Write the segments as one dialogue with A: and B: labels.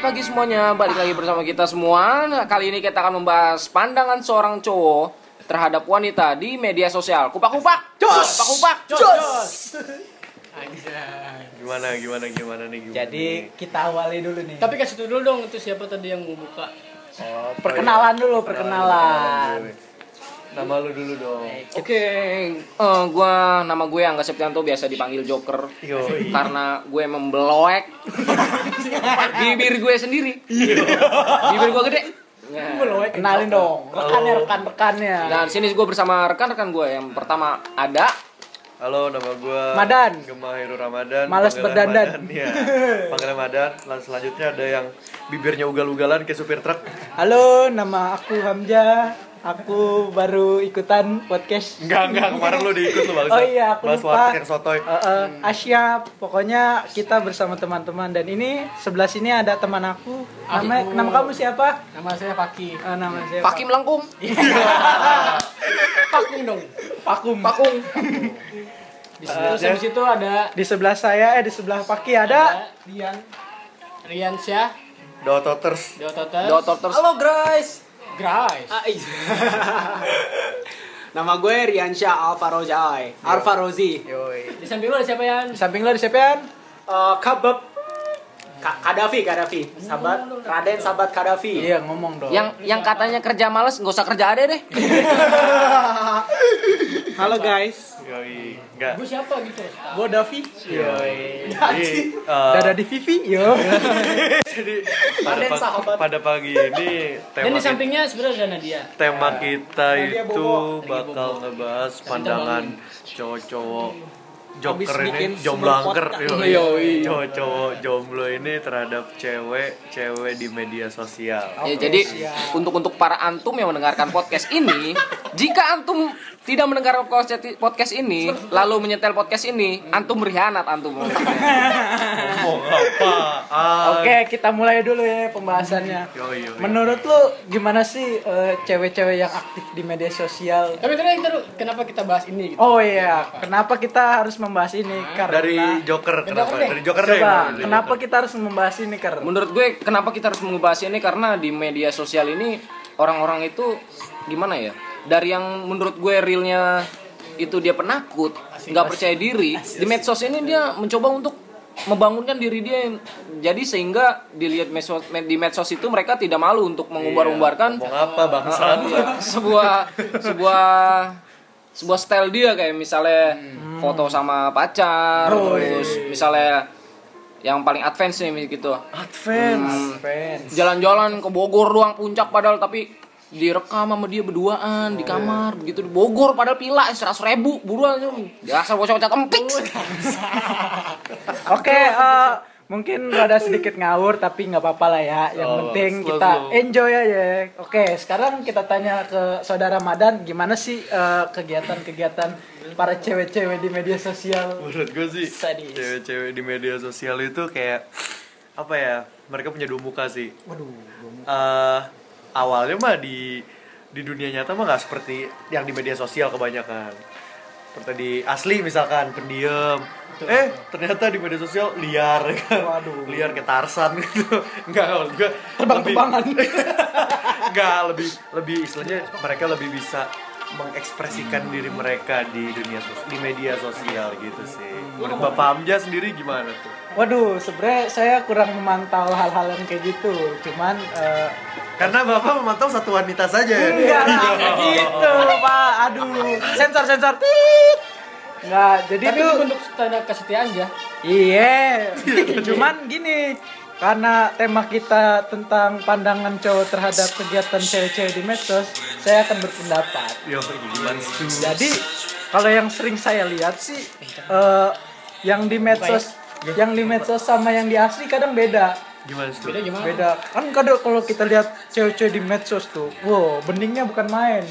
A: pagi semuanya, balik lagi bersama kita semua. Nah, kali ini kita akan membahas pandangan seorang cowok terhadap wanita di media sosial. Kupak-kupak,
B: Jos!
A: kupak-kupak,
C: Gimana gimana gimana nih gimana
B: Jadi
C: nih?
B: kita awali dulu nih.
D: Tapi kasih tau dulu dong itu siapa tadi yang mau buka.
C: Oh,
B: perkenalan
C: iya.
B: dulu, perkenalan.
C: dulu. iya. Nama lu dulu dong.
A: Oke, eh, gua nama gue Angga Septianto biasa dipanggil Joker
C: Yo.
A: karena gue membeloek bibir gue sendiri. Bibir gue gede. Nah,
B: Kenalin dong, rekannya rekan-rekannya.
A: nah, di sini gue bersama rekan-rekan gue. Yang pertama ada
C: Halo, nama gua
B: Madan.
C: Gema Heru Ramadan.
B: Males
C: panggilan
B: berdandan.
C: Madan, Iya. Panggilan Madan. Lalu selanjutnya ada yang bibirnya ugal-ugalan kayak supir truk.
B: Halo, nama aku Hamzah. Aku baru ikutan podcast. Eh,
C: Enggak, enggak, kemarin lu diikut lu bangsa.
B: Oh iya, aku
C: Bahas
B: lupa.
C: warteg yang sotoy.
B: Eh, eh, Asia, pokoknya kita bersama teman-teman dan ini sebelah sini ada teman aku. Nama
D: Aku.
B: nama kamu siapa?
D: Nama saya Faki.
B: Eh, nama siapa?
A: Pakim Melengkung.
D: Pakung dong.
B: Pakum.
A: Pakung.
D: Di situ terus habis itu ada
B: Di sebelah saya, eh di sebelah Paki ada.
D: Ada Rian Syah,
C: Dototers.
D: Deototes,
A: Dr. Ters.
D: Grace. Ah,
E: Nama gue Riansyah Alfarozai.
C: Iya.
E: Alfarozi.
C: Yoi.
D: Di samping lu ada siapa Yan?
B: Di samping lo di siapa Yan?
E: Eh Kabab. Ka- Kadafi, Kadafi. Sahabat Raden Sahabat Kadafi.
B: Iya, ngomong dong.
A: Yang yang katanya kerja males, nggak usah kerja ada deh.
E: Halo guys.
C: Yoi. Enggak.
D: Gue siapa gitu?
E: Gue Davi.
C: Yoi. Jadi, eh,
B: Dada di Vivi, yo.
C: jadi pada,
E: Raden
C: pa-
E: sahabat.
C: pada pagi ini
D: Dan
C: tema
D: di
C: kita
D: sampingnya sebenarnya ada Nadia.
C: tema kita
B: dia
C: itu
B: bobo.
C: bakal ngebahas pandangan cowok-cowok joker ini
E: bikin sebelum
C: jomblangker
E: podcast.
C: yoi. cowok-cowok jomblo ini terhadap cewek-cewek di media sosial
A: Ya, jadi untuk untuk para antum yang mendengarkan podcast ini, jika antum tidak mendengarkan podcast- podcast ini, lalu menyetel podcast ini, antum berkhianat antum.
C: ngomong apa Ah,
B: Oke, kita mulai dulu ya pembahasannya.
C: yoi, yoi.
B: Menurut lu gimana sih eh, cewek-cewek yang aktif di media sosial?
D: Tapi tadi kita kenapa kita bahas ini gitu?
B: Oh iya, kenapa kita harus membahas ini? Karena
C: dari joker kenapa
D: deh.
C: dari joker deh
B: coba,
C: dari
B: kenapa
C: Joker.
B: kita harus membahas ini
C: Hmm.
B: karena
A: Menurut gue, kenapa kita harus membahas ini karena di media sosial ini orang-orang itu gimana ya? Dari yang menurut gue realnya itu dia penakut, nggak percaya diri. Di medsos ini dia mencoba untuk membangunkan diri dia yang- jadi sehingga dilihat medsos, med- di medsos itu mereka tidak malu untuk mengumbar-umbarkan
C: ngomong apa bangsat
A: sebuah sebuah sebuah style dia kayak misalnya foto sama pacar terus misalnya yang paling advance nih gitu
C: advance
A: jalan-jalan ke Bogor doang puncak padahal tapi direkam sama dia berduaan di kamar begitu di Bogor padahal pila eh, seratus ribu buruan dasar bocah-bocah empik
B: Oke, eh, mungkin rada sedikit ngawur tapi nggak apa-apa lah ya. Yang
C: Oh,
B: penting
C: slow,
B: kita
C: slow.
B: enjoy aja. Oke, sekarang kita tanya ke saudara Madan gimana sih eh, kegiatan-kegiatan para cewek-cewek di media sosial?
C: menurut gue sih
B: Sadis.
C: cewek-cewek di media sosial itu kayak apa ya mereka punya dua muka sih waduh awalnya mah di di dunia nyata mah nggak seperti yang di media sosial kebanyakan seperti di asli misalkan pendiam eh ternyata di media sosial liar kan
B: Waduh.
C: liar kayak Tarzan gitu nggak maksud gue lebih-
B: Terbang-terbangan.
C: nggak lebih lebih istilahnya mereka lebih bisa mengekspresikan diri mereka di dunia sos- di media sosial gitu sih. Menurut Bapak Hamzah sendiri gimana tuh?
B: Waduh, sebenarnya saya kurang memantau hal-hal yang kayak gitu. Cuman eh,
C: Karena Bapak memantau satu wanita saja ya.
B: enggak lah enggak gitu, Pak. Aduh, sensor sensor tit. Enggak, jadi
D: Tapi itu
B: tuh
D: bentuk tanda kesetiaan aja.
B: iya. Cuman gini, karena tema kita tentang pandangan cowok terhadap kegiatan cewek-cewek di medsos, saya akan berpendapat.
C: Yo, Iya, gimana tuh?
B: Jadi kalau yang sering saya lihat sih eh, yang di medsos, yang di medsos sama yang di asli kadang beda.
C: Gimana tuh?
D: Beda gimana?
B: beda kan kadang kalau kita lihat cewek-cewek di medsos tuh wow beningnya bukan main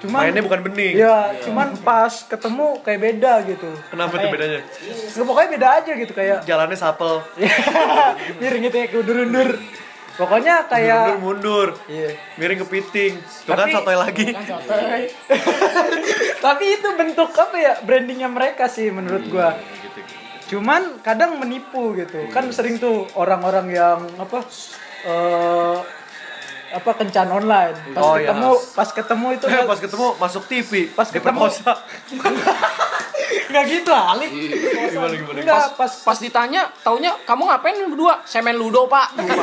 B: cuman
C: Mainnya bukan bening. Iya.
B: ya cuman pas ketemu kayak beda gitu
C: Kenapa tuh bedanya?
B: Ya, pokoknya beda aja gitu kayak
C: Jalannya sapel,
B: miring gitu ya kundur-undur pokoknya
C: mundur
B: kayak
C: mundur,
B: Iya.
C: miring ke piting. Tuh kan
B: Tapi-
C: sotoy lagi.
B: tapi itu bentuk apa ya brandingnya mereka sih menurut
C: Hmm,
B: gua gitu.
C: Iya,
B: cuman kadang menipu gitu kan sering tuh orang-orang yang apa eh, apa kencan online. Pas
C: Oh, iya.
B: ketemu, pas ketemu itu
C: Eh, pas ketemu masuk TV,
B: Pas
C: pas
B: ketemu-
C: diperkosa.
B: nggak gitu Alif.
C: gimana gimana?
B: Nggak, pas
A: Pas ditanya, taunya kamu ngapain berdua? Saya main ludo, Pak.
D: 86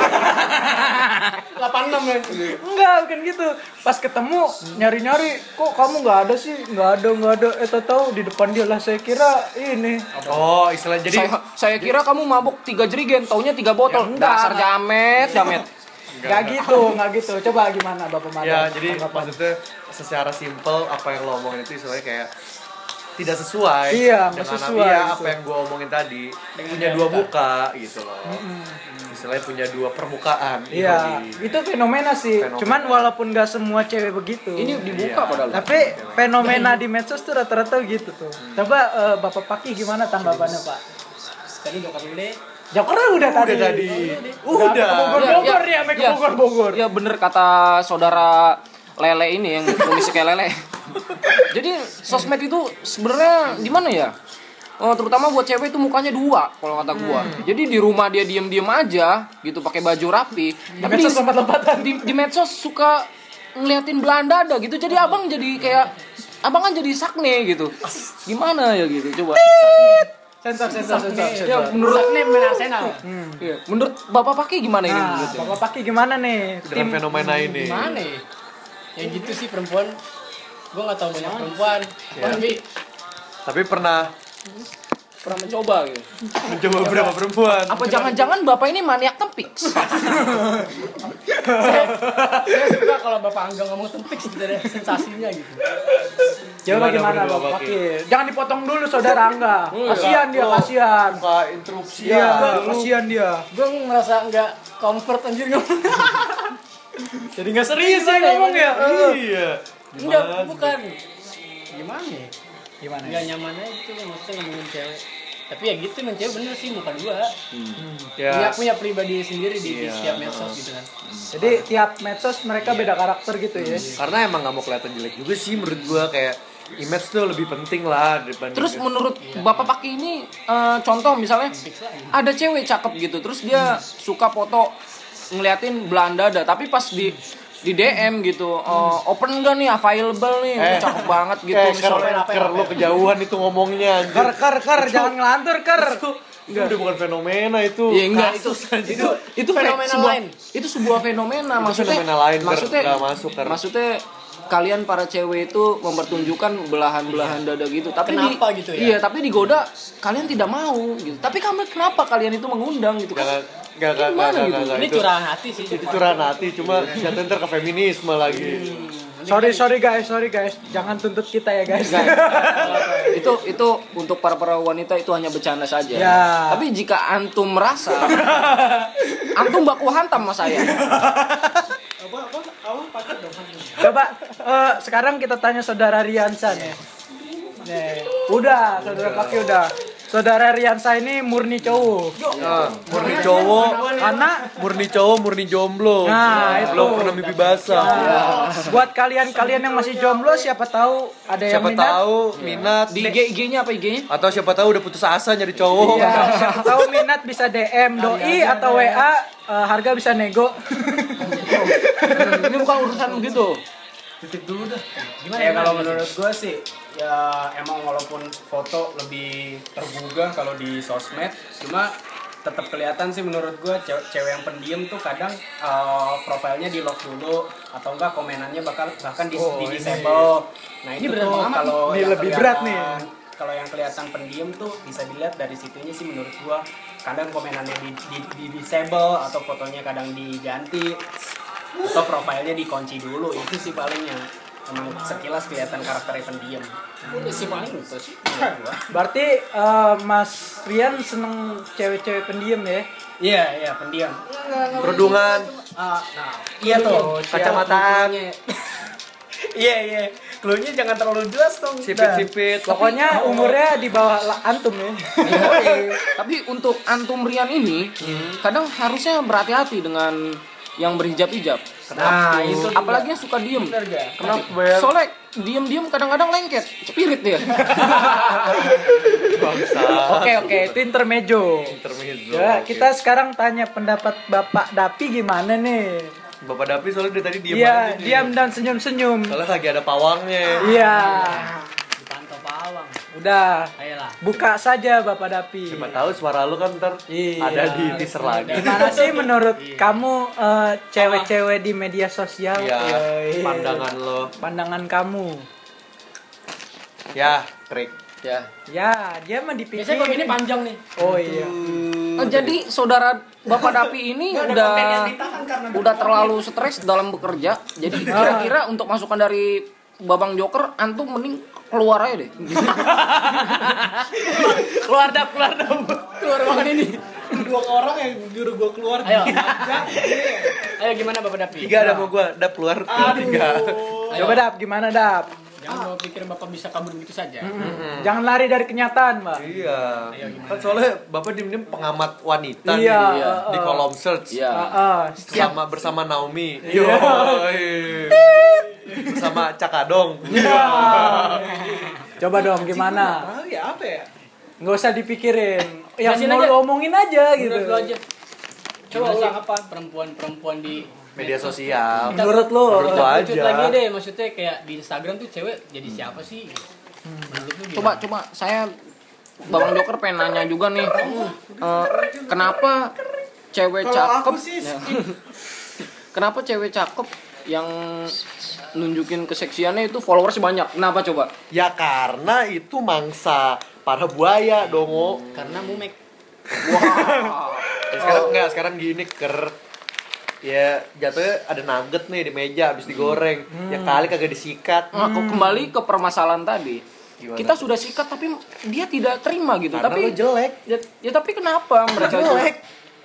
D: ya.
B: Enggak, bukan gitu. Pas ketemu nyari-nyari, kok kamu nggak ada sih? Nggak ada, nggak ada. Eh, tahu di depan dia lah. Saya kira ini.
C: Oh, istilahnya jadi
A: saya, saya kira kamu mabuk tiga jerigen, taunya tiga botol. Dasar jamet, jamet.
B: Nggak gitu, nggak gitu. Coba gimana Bapak Madang?
C: ya jadi
B: Tanggapan.
C: maksudnya secara simpel apa yang lo omongin itu istilahnya kayak tidak sesuai
B: Iya, nggak
C: dengan apa-
B: sesuai
C: iya,
B: gitu.
C: apa yang gue omongin tadi punya dua muka gitu loh istilahnya punya dua permukaan gitu
B: Iya,
C: di-
B: itu fenomena sih.
C: Fenomena.
B: Cuman walaupun nggak semua cewek begitu.
A: Ini dibuka
C: Iya.
A: padahal.
B: tapi fenomena di medsos tuh rata-rata gitu tuh. Coba eh, Bapak Paki gimana tanggapannya Pak?
D: Tadi dokter dulu.
B: Jokernya udah tadi.
C: udah tadi
B: Iya, Udah.
C: udah
B: sampai ke Bogor-Bogor
A: Iya,
B: ya, sampai ke
A: iya.
B: Bogor-Bogor.
A: Ya bener kata saudara Lele ini yang komisi kayak Lele. Jadi sosmed itu sebenarnya gimana ya? Oh, terutama buat cewek itu mukanya dua kalau kata gua.
B: Hmm.
A: Jadi di rumah dia diem-diem aja gitu pakai baju rapi. Di
B: medsos lompat-lompatan.
A: Di, di medsos suka ngeliatin belahan dada gitu. Jadi abang jadi kayak abang kan jadi sakne gitu. Gimana ya gitu coba.
B: Iya, Sensor, sensor, sensor.
A: Ya,
B: sensor.
A: menurut
D: Ini main Arsenal.
A: ya, menurut Bapak Paki gimana ini
B: Nah,
A: menurutnya?
B: Bapak Paki gimana nih?
C: dengan fenomena ini
D: Gimana ya? Yang gitu sih perempuan. Gue gak tau banyak perempuan.
C: Iya.
D: Tapi
C: tapi pernah
A: Pernah mencoba gitu.
C: mencoba beberapa perempuan
A: Apa jangan-jangan Bapak ini maniak tempik?
D: saya suka kalau Bapak Angga ngomong tempik sih ada sensasinya gitu.
B: Coba
C: Gimana
B: gimana
C: menurut
B: Bapak
C: Bapak
B: Paki? Jangan dipotong dulu saudara Angga. Kasihan dia, kasihan.
C: suka interupsi
B: Iya, kasihan dia.
D: Gue merasa nggak comfort anjir ngomong.
B: Jadi nggak serius saya ngomong ya.
C: iya
D: Enggak,
C: Gimana?
D: bukan. Gimana ya?
B: Gimana?
D: Nggak nyaman aja gitu maksudnya ngomongin cewek. Tapi ya gitu men cewek bener sih muka dua. Punya
C: ya
D: punya pribadi sendiri di, di
C: Iya.
D: setiap medsos gitu kan.
B: Jadi tiap medsos mereka beda karakter gitu ya.
C: karena emang nggak mau kelihatan jelek juga sih menurut gua kayak image tuh lebih penting lah gitu. daripada
A: Terus menurut Bapak Paki ini eh, contoh misalnya ada cewek cakep gitu, terus dia suka foto ngeliatin Belanda ada, tapi pas di di DM gitu, eh, open gak nih available nih,
C: Eh.
A: cakep banget gitu
C: Eh, ker,
A: misalnya.
C: ker, lu kejauhan itu ngomongnya anjir.
B: Ker ker ker jangan ngelantur ker.
C: Itu udah bukan fenomena itu.
A: Iya enggak itu
C: Kasus, anjir.
A: itu itu fenomena
D: fenomena
A: lain.
D: lain.
A: Itu sebuah fenomena maksudnya.
C: fenomena lain, Ker.
A: maksudnya
C: Nggak masuk, Ker.
A: Maksudnya kalian para cewek itu mempertunjukkan belahan-belahan dada gitu. Tapi di-
D: Kenapa gitu ya?
A: Iya, tapi digoda kalian tidak mau gitu. Tapi kamu kenapa kalian itu mengundang gitu kan?
C: Jangan enggak enggak enggak,
A: Gimana
C: enggak,
A: gitu?
C: enggak,
D: Ini
C: itu.
D: curahan hati sih.
C: Itu curahan hati cuma jatuh ntar ke feminisme lagi.
B: Sorry sorry guys, sorry guys. Jangan tuntut kita ya guys.
A: itu itu untuk para para wanita itu hanya bercanda saja.
B: Ya.
A: Tapi jika antum merasa antum baku hantam sama saya.
B: Coba eh, sekarang kita tanya saudara Riansa nih. Nih, udah saudara Paki udah. Saudara Riansa ini murni cowok.
C: Nah, murni cowok,
B: Karena
C: murni cowok, murni jomblo.
B: Nah, itu. Iya.
C: Belum pernah mimpi basah.
B: buat kalian-kalian yang masih jomblo siapa tahu ada yang
C: Siapa
B: minat.
C: tahu
E: Iya.
C: minat
A: Di IG IG-nya apa IG-nya?
C: atau siapa tahu udah putus asa nyari cowok.
B: Iya, siapa tahu minat bisa DM doi atau
C: ya.
B: WA eh, harga bisa nego.
A: ini bukan urusan gitu.
E: ya kalau menurut gue sih ya emang walaupun foto lebih tergugah kalau di sosmed cuma tetap kelihatan sih menurut gue cewek, cewek yang pendiam tuh kadang eh, profilnya di lock dulu atau enggak komenannya bakal bahkan di,
C: Oh,
E: di disable nah itu
D: berat
E: tuh
D: banget nih.
E: kalau
B: Ini
E: yang
B: lebih berat nih.
E: kelihatan- kalau yang kelihatan pendiam tuh bisa dilihat dari situnya sih menurut gua kadang komenannya di, di, di disable atau fotonya kadang diganti atau profilnya dikunci dulu itu sih paling yang emang sekilas kelihatan karakternya pendiam itu sih paling itu sih menurut gua.
B: Berarti eh, Mas Rian seneng cewek-cewek pendiam ya?
E: iya iya pendiam
C: Kerudungan,
E: Ah, nah iya tuh
C: kacamataan,
E: iya iya cluenya jangan terlalu jelas dong
C: sipit-sipit.
B: Pokoknya
C: Oh.
B: umurnya di bawah la- antum ya.
E: Hmm.
A: Tapi untuk antum Rian ini, kadang harusnya berhati-hati dengan yang berhijab-hijab.
E: Nah, itu juga.
A: Apalagi yang suka diem.
E: Bener gak?
A: Kenapa?
C: banget.
A: Soalnya diem-diem kadang-kadang lengket, spirit dia.
B: Oke oke, itu intermejo.
C: Intermezzo.
B: Ya,
C: oke.
B: kita sekarang tanya pendapat Bapak Dapi gimana nih?
C: Bapak Dapi soalnya dia tadi diam aja
B: Iya,
C: nih.
B: diam dan senyum-senyum.
C: Soalnya lagi ada pawangnya.
B: Iya.
D: Pantau pawang.
B: Udah,
D: Ayolah.
B: buka saja Bapak Dapi.
C: Siapa tahu suara lu kan ntar
B: Iya.
C: ada di teaser lagi.
B: Gimana sih menurut
C: Iya.
B: kamu eh, cewek-cewek di media sosial?
C: Ya,
B: Yoi.
C: pandangan lo.
B: pandangan kamu.
C: Ya, trik.
A: ya.
B: Ya, dia mah dipikir.
D: Biasanya kalau ini panjang nih.
B: Oh iya.
A: Oh, jadi saudara Bapak Dapi ini udah udah terlalu stres dalam bekerja. Jadi
E: Ah.
A: kira-kira untuk masukan dari Babang Joker, antum mending keluar aja deh.
B: Keluar dap, keluar dap.
A: Keluar ruangan ini.
E: Dua orang yang juru gue keluar.
D: Ayo. Ayo gimana Bapak Dapi?
C: Tiga ada mau gua, ada keluar Nah. tiga.
B: Coba dap, gimana dap?
D: Jangan bawa pikirin Bapak bisa kabur begitu saja. Hmm.
B: Jangan lari dari kenyataan, Mbak.
C: Iya. Kan soalnya Bapak diem-diem pengamat wanita nih
B: Iya,
C: di, di
B: iya.
C: kolom search.
A: Iya.
E: Ah,
B: Heeh.
C: Bersama bersama Naomi. Yoi. bersama Cakadong.
B: Coba dong gimana?
E: Ah, ya apa ya?
B: Nggak usah dipikirin. Yang
D: Jelasin
B: mau
D: aja.
B: lu omongin aja gitu.
D: Menurut lu aja. Coba
E: Coba
D: ulang
E: ulang
D: apa perempuan-perempuan di
C: Media sosial.
B: Menurut lu.
C: Menurut lu
D: Kita
C: aja.
D: kerucut lagi deh maksudnya kayak di Instagram tuh cewek jadi siapa sih? Menurut lu gimana?
A: Coba coba saya Babang Joker pengen nanya juga nih. Eh, kenapa cewek
E: Kalau
A: cakep
E: aku sih
A: Ya. Kenapa cewek cakep yang nunjukin keseksiannya itu followersnya banyak? Kenapa coba?
C: Ya karena itu mangsa para buaya oh. dongo.
D: Karena mumek.
C: Ya, sekarang enggak, sekarang gini ker ya jatuhnya ada nugget nih di meja habis digoreng ya kali kagak disikat
A: Nah, ke- kembali ke permasalahan tadi.
C: Hmm. Gimana?
A: Kita sudah sikat tapi dia tidak terima gitu.
C: karena
A: tapi
C: lu jelek
A: ya, ya tapi kenapa mereka itu
C: Jelek.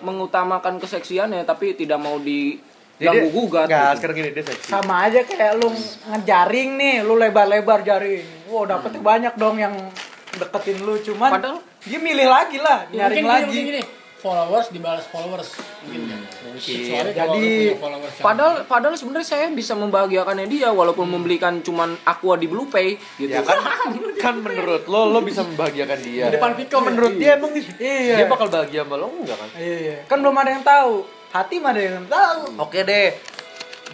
A: mengutamakan keseksiannya tapi tidak mau diganggu
C: dia-
A: gugat?
C: enggak,
A: gitu.
C: sekarang gini dia seksi
B: Sama aja kayak lu ngejaring nih, lu lebar-lebar jaring. Wow, dapetnya
D: Hmm.
B: banyak dong yang deketin lu cuman
A: Padahal
B: dia milih lagi lah,
D: Ya,
B: nyaring
D: mungkin gini,
B: lagi.
D: mungkin gini. Followers dibalas followers. Mungkin. Soalnya kalau
B: Jadi-
D: lu punya followers yang-
A: Padahal padahal sebenarnya saya bisa membahagiakannya dia walaupun membelikan cuman aqua di Blue Pay gitu.
C: Hmm. ya kan kan menurut lo lo bisa membahagiakan dia
D: Di depan Viko
C: menurut dia emang dia,
B: Iya.
C: dia bakal bahagia sama lo enggak kan
B: Iya, kan belum ada yang tahu. Hati mah ada yang tahu.
C: oke deh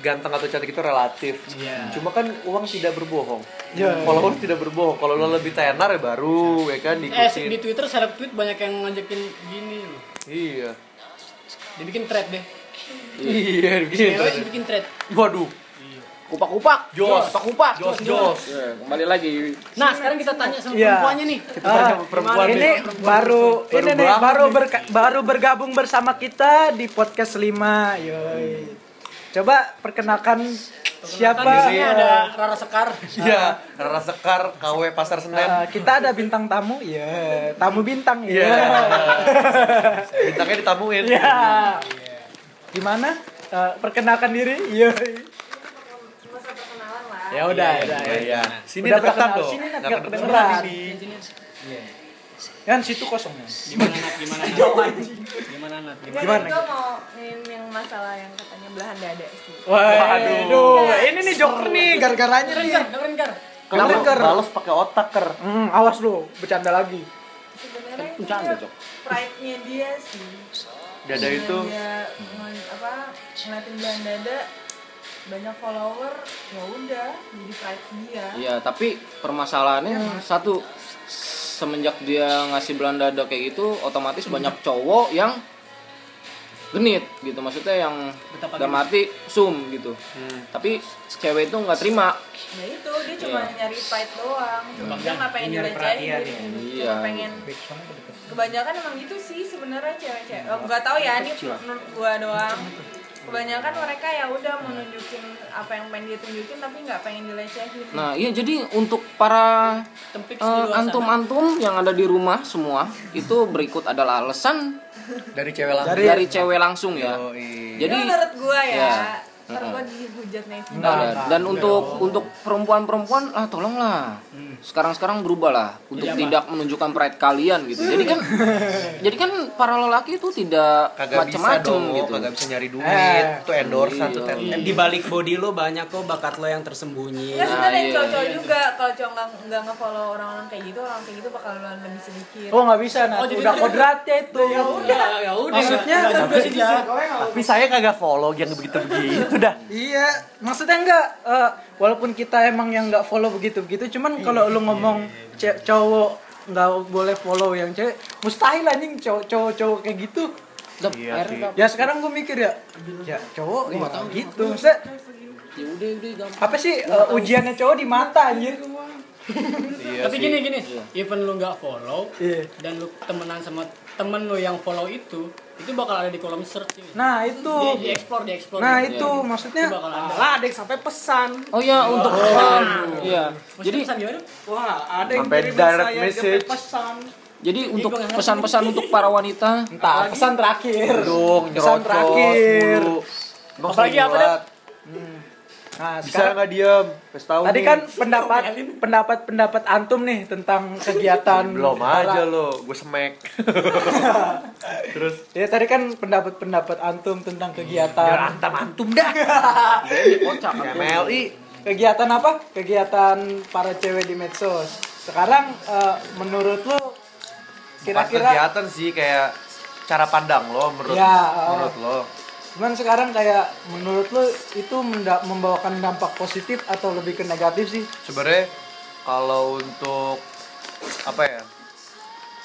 C: ganteng atau cantik itu relatif
D: Iya.
C: cuma kan uang tidak berbohong
B: Iya.
C: followers tidak berbohong kalau lo lebih tenar ya baru ya kan
D: Eh, di
C: diikutin
D: Twitter seleb tweet banyak yang ngajakin gini loh.
C: iya
D: Dibikin thread deh.
C: iya
D: Cewek
C: gitu
D: dibikin thread.
C: waduh
A: Kupak-kupak.
C: Jos.
A: Kupak-kupak.
C: jos jos
A: Ya, kembali lagi.
D: Nah, sekarang kita tanya sama
B: Iya.
D: perempuannya nih.
B: Ah,
C: Tanya perempuan
B: ini
C: nih.
B: baru
C: Baru
B: ini nih
C: banget
B: baru
C: nih.
B: berka- baru bergabung bersama kita di podcast 5. Yoi. Coba perkenalkan siapa?
D: Kan di sini
B: Eh,
D: ada Rara Sekar.
C: Iya, Rara Sekar, KW Pasar Senen.
B: eh, kita ada bintang tamu, ya. Tamu bintang, ya.
C: Iya. Bintangnya ditamuin.
B: Iya. Gimana? Eh, perkenalkan diri. Iya. Yoi. Ya udah, ya udah.
C: Iya, iya. Sini
B: Udah
C: deketan
B: perkenal-
C: dong.
B: sini
C: Nggak
B: dekat
C: kedengeran,
B: beneran.
C: Bibi.
B: Iya. Kan situ kosong ya.
D: Gimana Nat? Gimana Nat? Gimana Nat? Gimana?
B: Gimana?
F: Gue mau ngin yang masalah yang katanya belahan dada sih.
B: Waduh. Ini nih joker nih gara-garanya nih.
D: Dengar, dengerin Kar.
C: Kamu
B: Kenapa?
C: balas pakai otak ker.
B: Hmm, awas lu, bercanda lagi.
F: Sebenarnya itu
A: Bercanda, Cok.
F: pride-nya dia sih.
C: Dada
F: Dengan
C: itu
F: dia ngon- apa ngeliatin belahan dada banyak follower ya udah jadi pride dia.
A: Iya, tapi
D: Hmm.
A: permasalahannya satu semenjak dia ngasih belahan dada kayak gitu, otomatis
D: Hmm.
A: banyak cowok yang genit gitu maksudnya yang
D: Betapa Hmm.
A: udah mati sum gitu. Tapi cewek itu nggak terima.
F: Ya itu dia cuma nyari pride doang. Cuma Iya. dia nggak pengen dibacain gitu.
A: Iya.
F: Cuma pengen kebanyakan emang gitu sih sebenarnya cewek-cewek. Oh, nggak tahu ya ini menurut gua doang. Kebanyakan mereka ya udah mau nunjukin apa yang pengen dia tunjukin tapi nggak pengen dilecehin.
A: Nah, iya jadi untuk para eh,
D: Tempik di luar sana.
A: antum-antum yang ada di rumah semua, itu berikut adalah alasan
C: dari cewek langsung.
A: dari, cewek langsung ya.
F: Jadi
D: Iya,
A: Jadi
F: menurut gua ya,
A: ya.
F: ntar gua dihujat netizen.
C: Hmm.
A: Nah, dan untuk untuk perempuan-perempuan ah tolonglah sekarang-sekarang berubah lah
C: Iya,
A: untuk tidak menunjukkan pride kalian gitu. Jadi kan jadi kan para lelaki itu tidak
C: kagak bisa
A: macem-macem
C: dong
A: gitu.
C: kagak bisa nyari duit
B: Eh,
C: tuh endorsean tuh
A: iya.
C: ten
E: Di balik body lo banyak kok bakat lo yang
A: Iya.
E: tersembunyi.
F: Nggak sebenarnya
A: iya,
F: cowok-cowok juga kalau cowok nggak nggak ngefollow orang-orang kayak gitu orang kayak gitu bakalan lebih sedikit.
B: Oh nggak bisa nah,
D: Oh, jadi
B: udah
D: itu-
B: kodratnya itu.
D: Ya, ya udah.
B: Maksudnya
D: Nggak
B: kan
D: juga sih dia.
C: tapi saya kagak follow yang begitu begitu dah
B: Iya, maksudnya enggak eh, walaupun kita emang yang nggak follow begitu-begitu,
D: Iya,
B: cuman kalau lu ngomong ce- cowok nggak boleh follow yang cewek, mustahil anjing cowok-cowok kayak gitu.
A: Dap,
C: Iya sih.
A: akhirnya dap.
B: Ya sekarang gue mikir ya, ya cowok ya, gitu. Maksudnya
A: Ya udah udah gampang.
B: apa sih eh, ujiannya cowok di mata anjir?
C: Iya
D: Tapi gini gini, even lu nggak follow
B: Iya.
D: dan lu temenan sama temen lu yang follow itu, itu bakal ada di kolom search cuy.
B: Nah, itu.
D: Di, di explore, di explore.
B: Nah,
D: gitu.
B: itu maksudnya
D: Itu bakal iya. ada.
E: Lah ada yang sampai pesan.
A: Oh
C: Iya.
A: ya untuk Iya.
D: Maksudnya
A: Jadi
D: pesan gimana?
E: Wah, ada yang
C: Sampai
E: kirimin
C: direct
E: saya
C: message.
E: sampai pesan.
A: jadi untuk pesan-pesan untuk para wanita
B: Entah, pesan terakhir.
C: dong
B: pesan terakhir.
C: Bang
D: Apalagi apa, Dap?
B: Nah,
C: Bisa
B: sekarang
C: nggak diam? Kasih tahu
B: Tadi
C: nih.
B: kan pendapat pendapat pendapat antum nih tentang kegiatan
C: belum aja lo, gue semek. Terus
B: Ya tadi kan pendapat pendapat antum tentang
C: biar
B: kegiatan
C: Ya, antam antum dah.
A: kocak
C: MLI.
B: kegiatan apa? Kegiatan para cewek di medsos. Sekarang eh, menurut lu
C: Bukan
B: kira-kira
C: kegiatan sih kayak cara pandang lo menurut
B: Ya, oh.
C: menurut lo.
B: cuman sekarang kayak menurut lu itu menda- membawakan dampak positif atau lebih ke negatif sih?
C: Sebenarnya kalau untuk apa ya?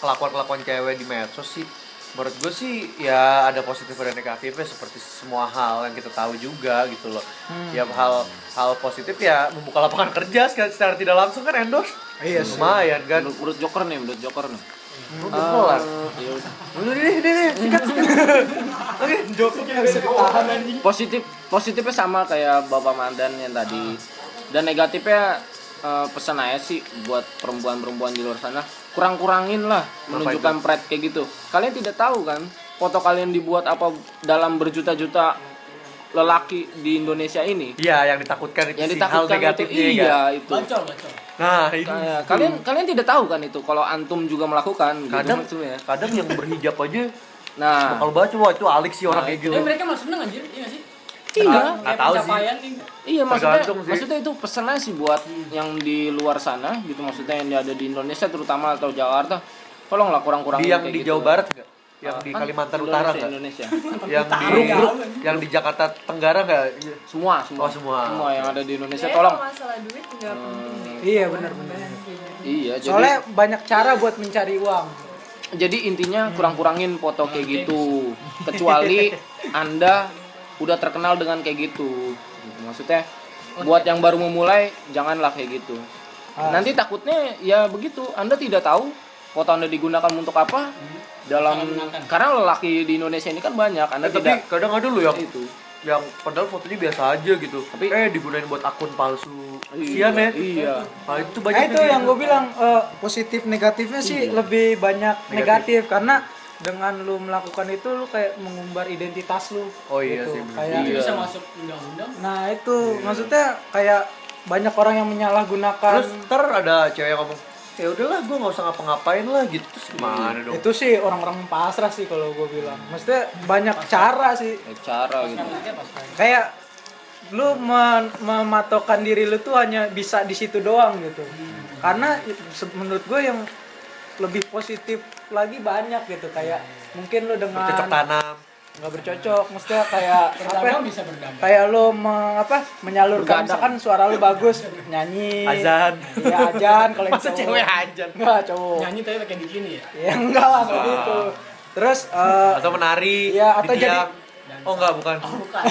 C: Kelakuan-kelakuan cewek di medsos sih menurut gue sih ya ada positif dan negatifnya seperti semua hal yang kita tahu juga gitu loh.
A: Hmm.
C: Ya hal hal positif ya membuka lapangan kerja secara, secara tidak langsung kan endorse.
B: Iya sih.
C: Lumayan kan. Ah.
A: Menurut menurut Joker nih, menurut Joker nih.
C: Udah kelar.
A: Ya
C: Iya,
A: udah.
C: Udah deh, deh, deh,
A: Hmm.
C: sikat, sikat. Oke,
A: positif positifnya sama kayak bapak Mandan yang
C: Ah.
A: tadi dan negatifnya eh, pesan aja sih buat perempuan-perempuan di luar sana kurang-kurangin lah menunjukkan pride kayak gitu kalian tidak tahu kan foto kalian dibuat apa dalam berjuta-juta lelaki di Indonesia ini
C: Iya, yang ditakutkan itu
A: yang
C: sih hal
A: ditakutkan itu
C: negatifnya ya.
A: iya itu
D: Bacol, bacol.
C: Nah, itu
A: Kayak- kalian kalian tidak tahu kan itu kalau antum juga melakukan gitu
C: kadang
A: maksudnya.
C: kadang yang berhijab aja
A: nah
C: kalau baca wah itu alik sih orang
A: Nah,
C: kayak
A: itu.
C: gitu.
D: Tapi mereka masih seneng anjir, iya nggak sih?
A: iya
C: nggak
D: Kayak
C: tahu sih.
D: pencapaian nih.
A: Iya maksudnya,
C: Tergantung sih.
A: maksudnya itu pesannya sih buat yang di luar sana gitu maksudnya yang ada di Indonesia terutama atau Jakarta tolonglah kurang-kurangin
C: Di yang
A: kayak
C: di
A: gitu.
C: Jawa Barat enggak? Yang di
A: Kan
C: Kalimantan
A: Indonesia,
C: Utara enggak?
A: Indonesia
C: Yang di yang di Jakarta Tenggara enggak?
A: semua semua
C: Oh, semua.
A: yang ada di Indonesia
F: Jadi
A: tolong Hmm.
F: kalau masalah duit nggak penting deh.
B: Iya benar-benar.
A: iya jadi
B: Soalnya banyak cara buat mencari uang.
A: jadi intinya kurang-kurangin foto kayak gitu kecuali anda udah terkenal dengan kayak gitu maksudnya buat yang baru memulai janganlah kayak gitu nanti takutnya ya begitu anda tidak tahu foto anda digunakan untuk apa dalam karena lelaki di Indonesia ini kan banyak anda
C: Eh, tapi
A: tidak
C: kadang ada loh yang
A: itu
C: yang padahal fotonya biasa aja
A: Gitu.
C: gitu.
A: Tapi-
C: eh digunain buat akun palsu. Kasihan ya.
A: iya
C: Nah, itu banyak
B: Nah itu
C: kayak
B: yang
C: gitu.
B: gue bilang eh, Iya. positif negatifnya sih lebih banyak negatif. karena dengan lu melakukan itu lu kayak mengumbar identitas lu. Gitu.
C: Oh iya sih, bener. Iya.
B: Kayak,
A: Iya.
D: Bisa masuk undang-undang.
B: Nah itu maksudnya kayak banyak orang yang menyalahgunakan
C: Terus ntar ada cewek yang ngomong, ya udahlah gue nggak usah ngapa-ngapain lah gitu. Terus gimana dong?
B: itu sih orang-orang pasrah sih kalau gue bilang. Maksudnya banyak cara sih
A: Kayak cara gitu
B: kayak lu men- mematokkan diri lu tuh hanya bisa di situ doang gitu karena i- se- menurut gue yang lebih positif lagi banyak gitu kayak mungkin lu dengan
C: Cocok tanam.
B: nggak bercocok maksudnya kayak apa ya,
D: Berdagang bisa berdagang.
B: kayak lu me- apa menyalurkan misalkan suara lu bagus nyanyi
C: Azan.
B: ya ajan kalau yang
C: Masa
B: cowok.
C: cewek aja?
B: enggak cowok
D: Nyanyi tapi pakai bikini ya.
B: ya enggak lah kayak gitu terus eh,
C: Ah. Atau menari?
B: Iya, atau
C: di tiang.
B: jadi-
C: Oh enggak bukan.
D: Bukan.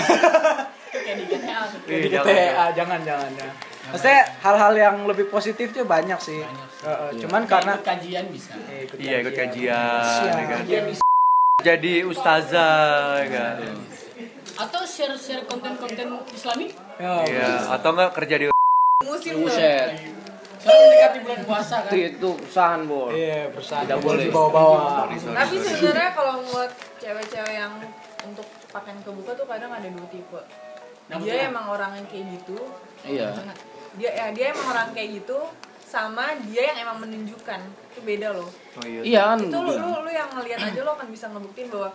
D: kayak di GTA tuh.
C: Iya,
B: di
C: jangan,
B: GTA jangan jangan ya. Maksudnya hal-hal yang lebih positif tuh banyak sih. Heeh, Cuman karena
D: Ikut kajian bisa.
B: Eh, ikut
C: Nah. Iya ikut
B: kajian.
C: kajian, ya kan?
B: Iya, bisa.
C: Jadi ustazah, ya kan?
D: Atau share-share konten-konten islami.
B: Ya,
C: Iya. Atau enggak kerja di
F: Musim tuh.
A: buset
D: Sekarang mendekati bulan puasa kan.
A: itu
C: Iya.
A: itu usahan bol
B: Iya, perusahaan
A: Tidak
B: tidak
A: boleh.
B: boleh bawa-bawa.
F: Tapi sebenarnya kalau buat cewek-cewek yang untuk pakaian kebuka tuh kadang ada dua tipe. Dia emang orang yang kayak gitu,
A: iya
F: dia ya dia emang orang kayak gitu sama dia yang emang menunjukkan itu beda loh
C: Oh iya.
A: Iya kan
F: itu
A: gua
F: lu, lu
A: bilang.
F: lu yang ngelihat aja lo akan bisa ngebuktiin bahwa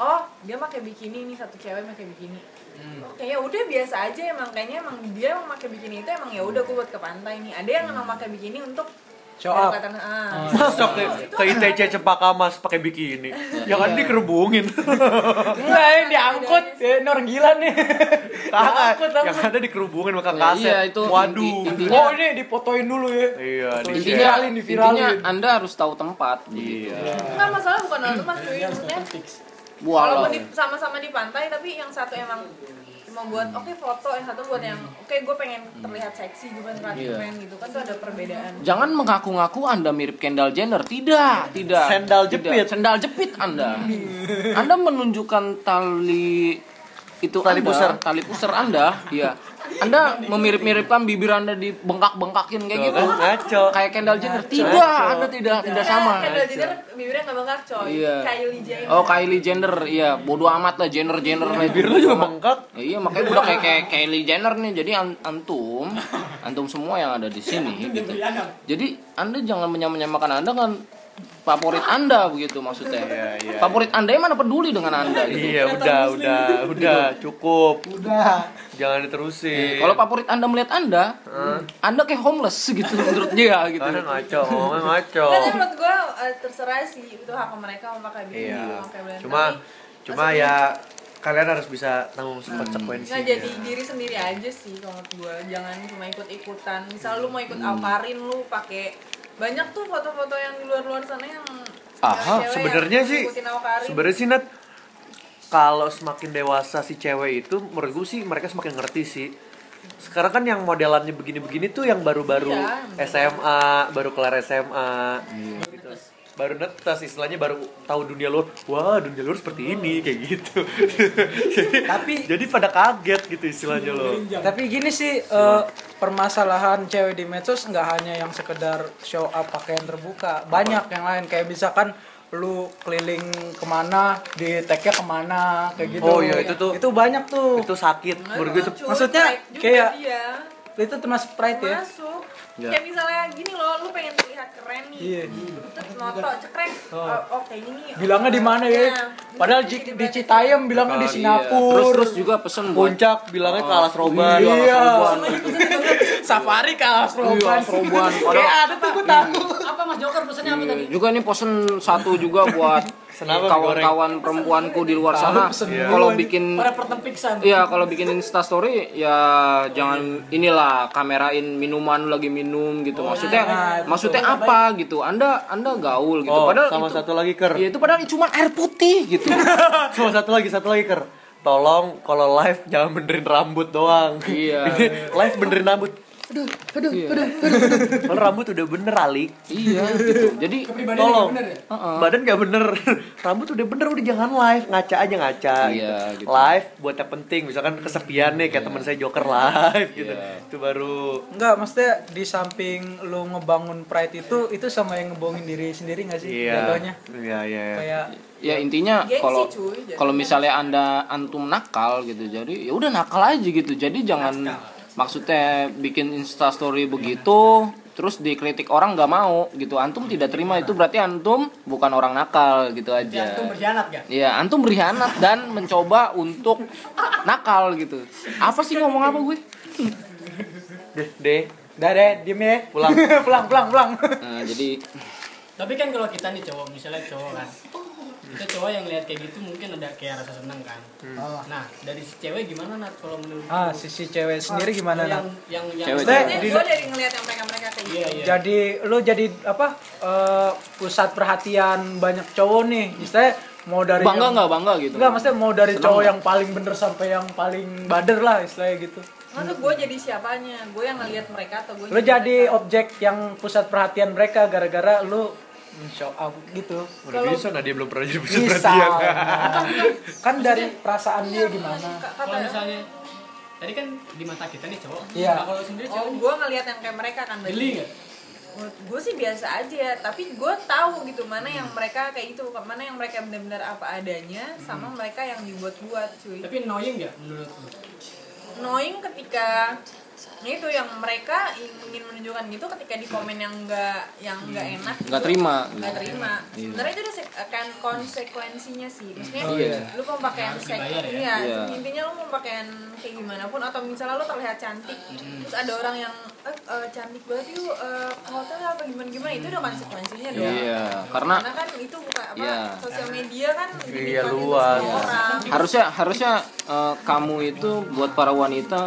F: oh dia pakai bikini nih satu cewek pakai bikini
A: Hmm.
F: Oke ya udah biasa aja emang kayaknya emang dia emang pakai bikini itu emang ya udah gue buat ke pantai nih ada yang
A: Hmm.
F: emang pakai bikini untuk
B: Show up.
F: pendekatan- ah.
C: Masuk ke, ke ITC Cempaka Mas pakai bikini. Ya kan dikerubungin.
B: Enggak, ini diangkut. Ya, ini orang gila nih.
C: Kagak.
B: Takut, takut.
C: Yang ada dikerubungin maka
A: Ya,
C: kaset.
A: iya, itu
C: Waduh.
A: inti- intinya-
B: Oh, ini dipotoin dulu ya.
C: Iya, di
A: intinya
B: Diviralin, diviralin.
A: intinya anda harus tahu tempat gitu.
C: Iya.
F: Enggak masalah bukan orang tuh mas cuy
A: Iya,
F: maksudnya
A: Walau
F: walaupun di- sama-sama di pantai tapi yang satu emang cuma buat oke foto yang satu buat yang oke gue pengen terlihat seksi gue pengen terlihat
A: Hmm. Iya.
F: keren gitu kan tuh ada perbedaan
A: Jangan mengaku-ngaku Anda mirip Kendall Jenner. Tidak, tidak.
C: Sendal
A: Tidak.
C: jepit.
A: Sendal jepit Anda. Anda menunjukkan tali itu
C: Tali
A: Anda,
C: pusar.
A: tali pusar Anda, iya. Anda memirip-miripkan bibir Anda dibengkak-bengkakin kayak
C: Tuh
A: gitu.
C: kan ngaco.
A: Kayak Kendall Jenner. Tidak, Anda tidak tidak sama.
F: Kan Kendall Jenner bibirnya nggak bengkak coy
A: Iya.
F: Kylie Jenner
A: Oh, Kylie Jenner, iya. Bodoh amat lah Jenner-Jenner
C: Bibir lu juga bengkak.
A: Ya, iya makanya udah kayak kayak Kylie Jenner nih jadi an- antum antum semua yang ada di sini gitu jadi anda jangan menyamakan anda kan favorit anda begitu maksudnya
C: Iya, iya,
A: favorit anda yang mana peduli dengan anda gitu
C: Iya, udah, udah, udah, cukup.
B: Udah.
C: Jangan diterusin.
A: Iya, kalau favorit anda melihat anda anda kayak homeless gitu menurut dia gitu
C: Karena ngaco, ngomongnya ngaco.
F: Karena menurut gue terserah sih itu hak mereka mau pakai bikini
C: Iya.
F: mau pakai bulan
C: Cuma
F: tapi
C: cuma
F: maksudnya
C: ya kalian harus bisa tanggung
A: Hmm.
C: konsekuensinya.
F: nggak jadi diri sendiri aja sih kalau menurut gue jangan cuma ikut ikutan misal lu mau ikut aparin lu pakai banyak tuh foto-foto yang di luar-luar sana yang cewek-cewek
C: Aha,
F: yang
C: sebenarnya sih
F: ngikutin awkarin.
C: sebenarnya sih Nat kalau semakin dewasa si cewek itu menurut gue sih mereka semakin ngerti sih. Sekarang kan yang modelannya begini-begini tuh yang baru-baru
F: Iya.
C: SMA, baru kelar SMA.
A: Iya.
C: Gitu. Baru netas istilahnya baru tahu dunia luar. Wah, dunia luar seperti ini kayak gitu.
B: Tapi-
C: jadi pada kaget gitu istilahnya loh.
A: Iya.
B: Tapi gini sih eh, permasalahan cewek di medsos nggak hanya yang sekedar show up pakaian terbuka, banyak yang lain kayak misalkan lu keliling kemana, di tag-nya kemana, kayak gitu.
C: Oh, iya, itu tuh-
B: Itu banyak tuh.
C: Itu sakit
F: Iya.
C: menurut gue itu
F: Cuy,
B: maksudnya
F: Nah, like juga
B: kayak-
F: dia
B: Itu termasuk pride ya.
F: masuk kayak misalnya gini loh lu pengen terlihat keren nih
B: Iya.
F: terus moto cekrek oh, oh kayaknya nih
B: Bilangnya di mana ya?
F: Iya.
B: Padahal di, di
F: Jadi berarti-
B: Citayam bilangnya
C: Iya.
B: di
A: Iya.
B: Singapura.
A: terus terus juga pesen buat gitu.
C: puncak bilangnya ke alas roban.
B: Iya.
F: Cuma dia pesennya banget.
B: Safari ke Asroban.
A: Asroban.
B: Kayak ada tuh gue tahu.
D: Apa Mas Joker pesannya apa tadi?
A: juga nih pesen satu juga buat
C: Kenapa
A: kawan-kawan perempuanku di luar sana
B: pesen dulu
A: kalau
B: aja.
A: bikin
D: Para pertempiksan.
A: Iya kalau bikin insta story ya jangan inilah kamerain minuman lu lagi minum gitu
C: Oh,
A: maksudnya
C: iya,
A: maksudnya apa gitu Anda Anda gaul gitu
C: Oh,
A: padahal
C: sama
A: itu
C: satu lagi ker.
A: ya itu padahal cuma air putih gitu
C: Sama satu lagi, satu lagi ker. Tolong kalau live jangan benerin rambut doang.
A: Iya.
C: live benerin rambut. Aduh, aduh, aduh, aduh, aduh. Kalau rambut udah bener Ali.
A: iya gitu jadi
C: Tolong.
B: ya?
A: Uh-uh.
C: Badan gak bener. Rambut udah bener udah jangan live, ngaca aja ngaca
A: Iya,
C: gitu.
A: gitu. Iya.
C: Live buat yang penting, misalkan kesepian nih kayak teman saya Joker live gitu. Itu baru
B: Enggak, maksudnya di samping lu ngebangun pride itu, itu sama yang ngebohongin diri sendiri gak sih?
C: Iya.
B: Jatuhnya.
C: Iya, iya. iya.
B: Kayak
A: ya intinya
F: Gengsi,
A: kalau
F: cuy, jadi.
A: kalau misalnya Anda antum nakal gitu jadi ya udah nakal aja gitu jadi jangan maksudnya bikin insta story begitu terus dikritik orang nggak mau gitu antum tidak terima itu berarti antum bukan orang nakal gitu aja
D: Ya, antum berkhianat gak?
A: Iya, antum berkhianat dan mencoba untuk nakal gitu. Apa sih ngomong apa gue?
C: Deh, deh.
B: Udah deh, diem ya.
C: Pulang.
B: pulang, pulang, pulang.
A: Nah, jadi
D: Tapi kan kalau kita nih cowok, misalnya cowok kan. Kita cowok yang lihat kayak gitu mungkin ada kayak rasa seneng kan.
B: Ah.
D: Nah, dari si cewek gimana Nat kalau menurut
B: Ah, sisi cewek sendiri gimana, Nat?
D: yang, yang yang
A: Cewek,
D: yang-
F: Maksudnya gue dari ngeliat yang mereka-mereka kayak gitu
D: Iya, iya.
B: Jadi lu jadi apa? eh, pusat perhatian banyak cowok nih. Misalnya mau dari
A: bangga
B: yang-
A: nggak bangga gitu.
B: Enggak, maksudnya mau dari
A: Senang
B: cowok
A: nggak?
B: yang paling bener sampai yang paling bader lah istilahnya gitu.
F: Maksud gue jadi siapanya? Gue yang ngeliat mereka atau gue
B: Lu jadi objek yang pusat perhatian mereka gara-gara lu show up gitu.
C: Udah bisa, nah dia belum pernah jadi pusat
B: Bisa.
C: perhatian.
B: kan dari perasaan dia gimana?
D: Kalau
F: Iya, kata ya.
D: misalnya tadi kan di mata kita nih cowok.
B: Iya.
D: Nah, kalau sendiri
F: oh
D: cewek ya?
F: gue ngeliat yang kayak mereka kan
D: geli
F: berarti
D: nggak?
F: gue sih biasa aja tapi gue tahu gitu mana yang mereka kayak itu mana yang mereka benar-benar apa adanya sama mereka yang dibuat-buat cuy
D: Tapi annoying nggak menurut lu?
F: knowing ketika itu yang mereka ingin menunjukkan gitu ketika di komen yang enggak yang enggak enak
A: nggak
F: gitu,
A: terima
F: nggak terima sebenarnya itu udah sek- akan konsekuensinya sih maksudnya
A: Oh, iya.
F: lu mau pakaian
D: Harus
F: sek
D: dibayar ya?
F: iya
A: Iya.
F: intinya lu mau pakaian kayak gimana pun atau misalnya lu terlihat cantik
D: Hmm.
F: terus ada orang yang eh, eh, cantik banget yuk eh, ke hotel apa gimana gimana itu
D: Hmm.
F: udah konsekuensinya dong
A: iya karena
F: karena kan itu buka apa
A: Iya.
F: sosial media kan dinikmati
C: Iya,
F: untuk
C: luas.
F: semua orang
A: harusnya harusnya eh, kamu itu buat para wanita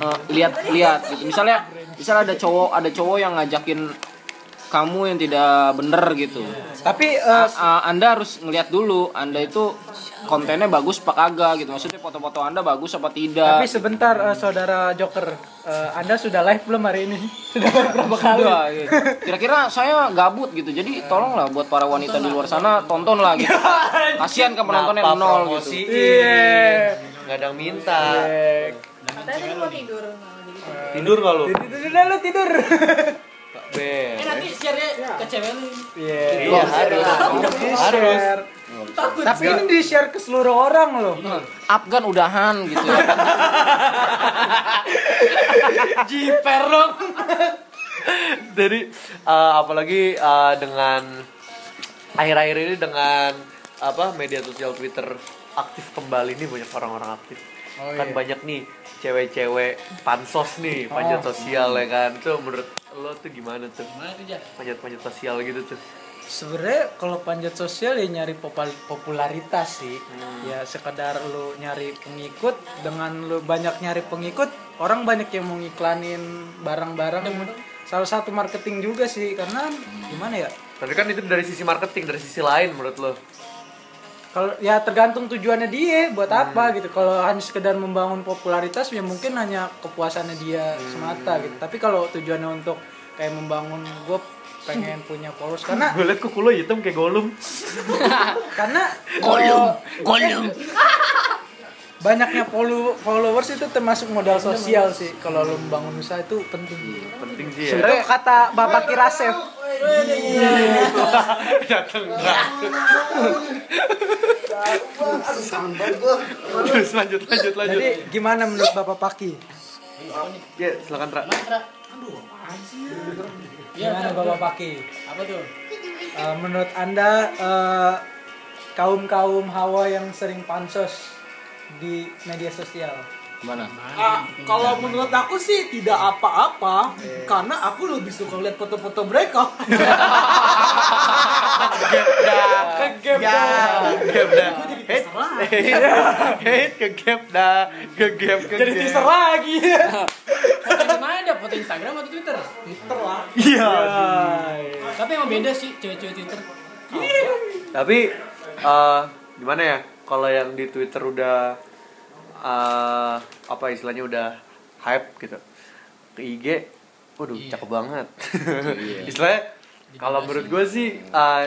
A: eh, lihat-lihat gitu misalnya misalnya ada cowok ada cowok yang ngajakin kamu yang tidak bener gitu
B: Tapi eh,
A: Eh, anda harus ngelihat dulu anda itu kontennya bagus apa kagak gitu maksudnya foto-foto anda bagus apa tidak
B: tapi sebentar eh, saudara Joker, eh, Anda sudah live belum hari ini? Sudah berapa kali?
A: Dua, gitu. Kira-kira saya gabut gitu. Jadi tolonglah buat para wanita di luar sana tontonlah gitu. Kasihan kan penontonnya
C: Kenapa
A: nol
C: promosi?
A: gitu.
B: Iya.
C: nggak ada yang minta
D: Iya.
F: katanya tadi mau tidur nah, jadi gitu.
C: tidur nggak lu
B: Tidur udah lu tidur.
C: Be.
D: Eh nanti share-nya ke cewek lu.
B: Iya.
C: Iya, harus harus
B: Tapi ini di share ke seluruh orang loh.
A: Afgan udahan gitu.
B: Jiper dong.
C: jadi eh, apalagi eh, dengan akhir-akhir ini dengan apa media sosial Twitter aktif kembali nih banyak orang-orang aktif kan banyak nih cewek-cewek pansos nih panjat sosial ya kan tuh menurut lo tuh gimana tuh
D: Mana tuh, Jar?
C: panjat-panjat sosial gitu tuh
B: Sebenarnya kalau panjat sosial ya nyari popal- popularitas sih. Ya sekedar lu nyari pengikut dengan lu banyak nyari pengikut, orang banyak yang mau ngiklanin barang-barang. Salah satu marketing juga sih karena gimana ya?
C: tapi kan itu dari sisi marketing dari sisi lain menurut lo
B: Kalau ya tergantung tujuannya dia buat apa gitu. Kalau hanya sekedar membangun popularitas ya mungkin hanya kepuasannya dia semata gitu. Tapi kalau tujuannya untuk kayak membangun gue pengen punya followers karena
C: gue liat kuku lo hitam kayak golum
B: karena kalau banyaknya follow- followers itu termasuk modal sosial sih. Kalau lo membangun usaha itu penting.
D: Iya.
C: penting sih ya
B: Sebenarnya kata Bapak Kirasef
C: terus lanjut lanjut lanjut
B: Jadi gimana menurut Bapak Paki?
C: ya silakan Tra
D: Mantra. Aduh, apaan sih? Iya,
B: Gimana
D: Tar?
B: Bapak Paki?
D: Apa tuh?
B: Uh, menurut anda uh, kaum kaum hawa yang sering pansos di media sosial
A: Gimana?
G: Ah, kalau menurut aku sih tidak apa-apa karena aku lebih suka lihat foto-foto mereka.
B: kegep
C: Gap dah.
D: Eh.
C: Hate,
G: Terserah.
C: hate, hate, ke gap dah, ke gap, ke
B: jadi
C: gap.
B: teaser lagi
D: Foto di mana ada? Foto Instagram atau Twitter?
G: Twitter lah.
C: Iya.
D: Tapi emang beda sih cewek-cewek Twitter.
C: Tapi eh, gimana ya? Kalau yang di Twitter udah eh, apa istilahnya udah hype gitu. Ke IG, waduh
B: Iya.
C: cakep banget. istilahnya kalau menurut gue sih eh,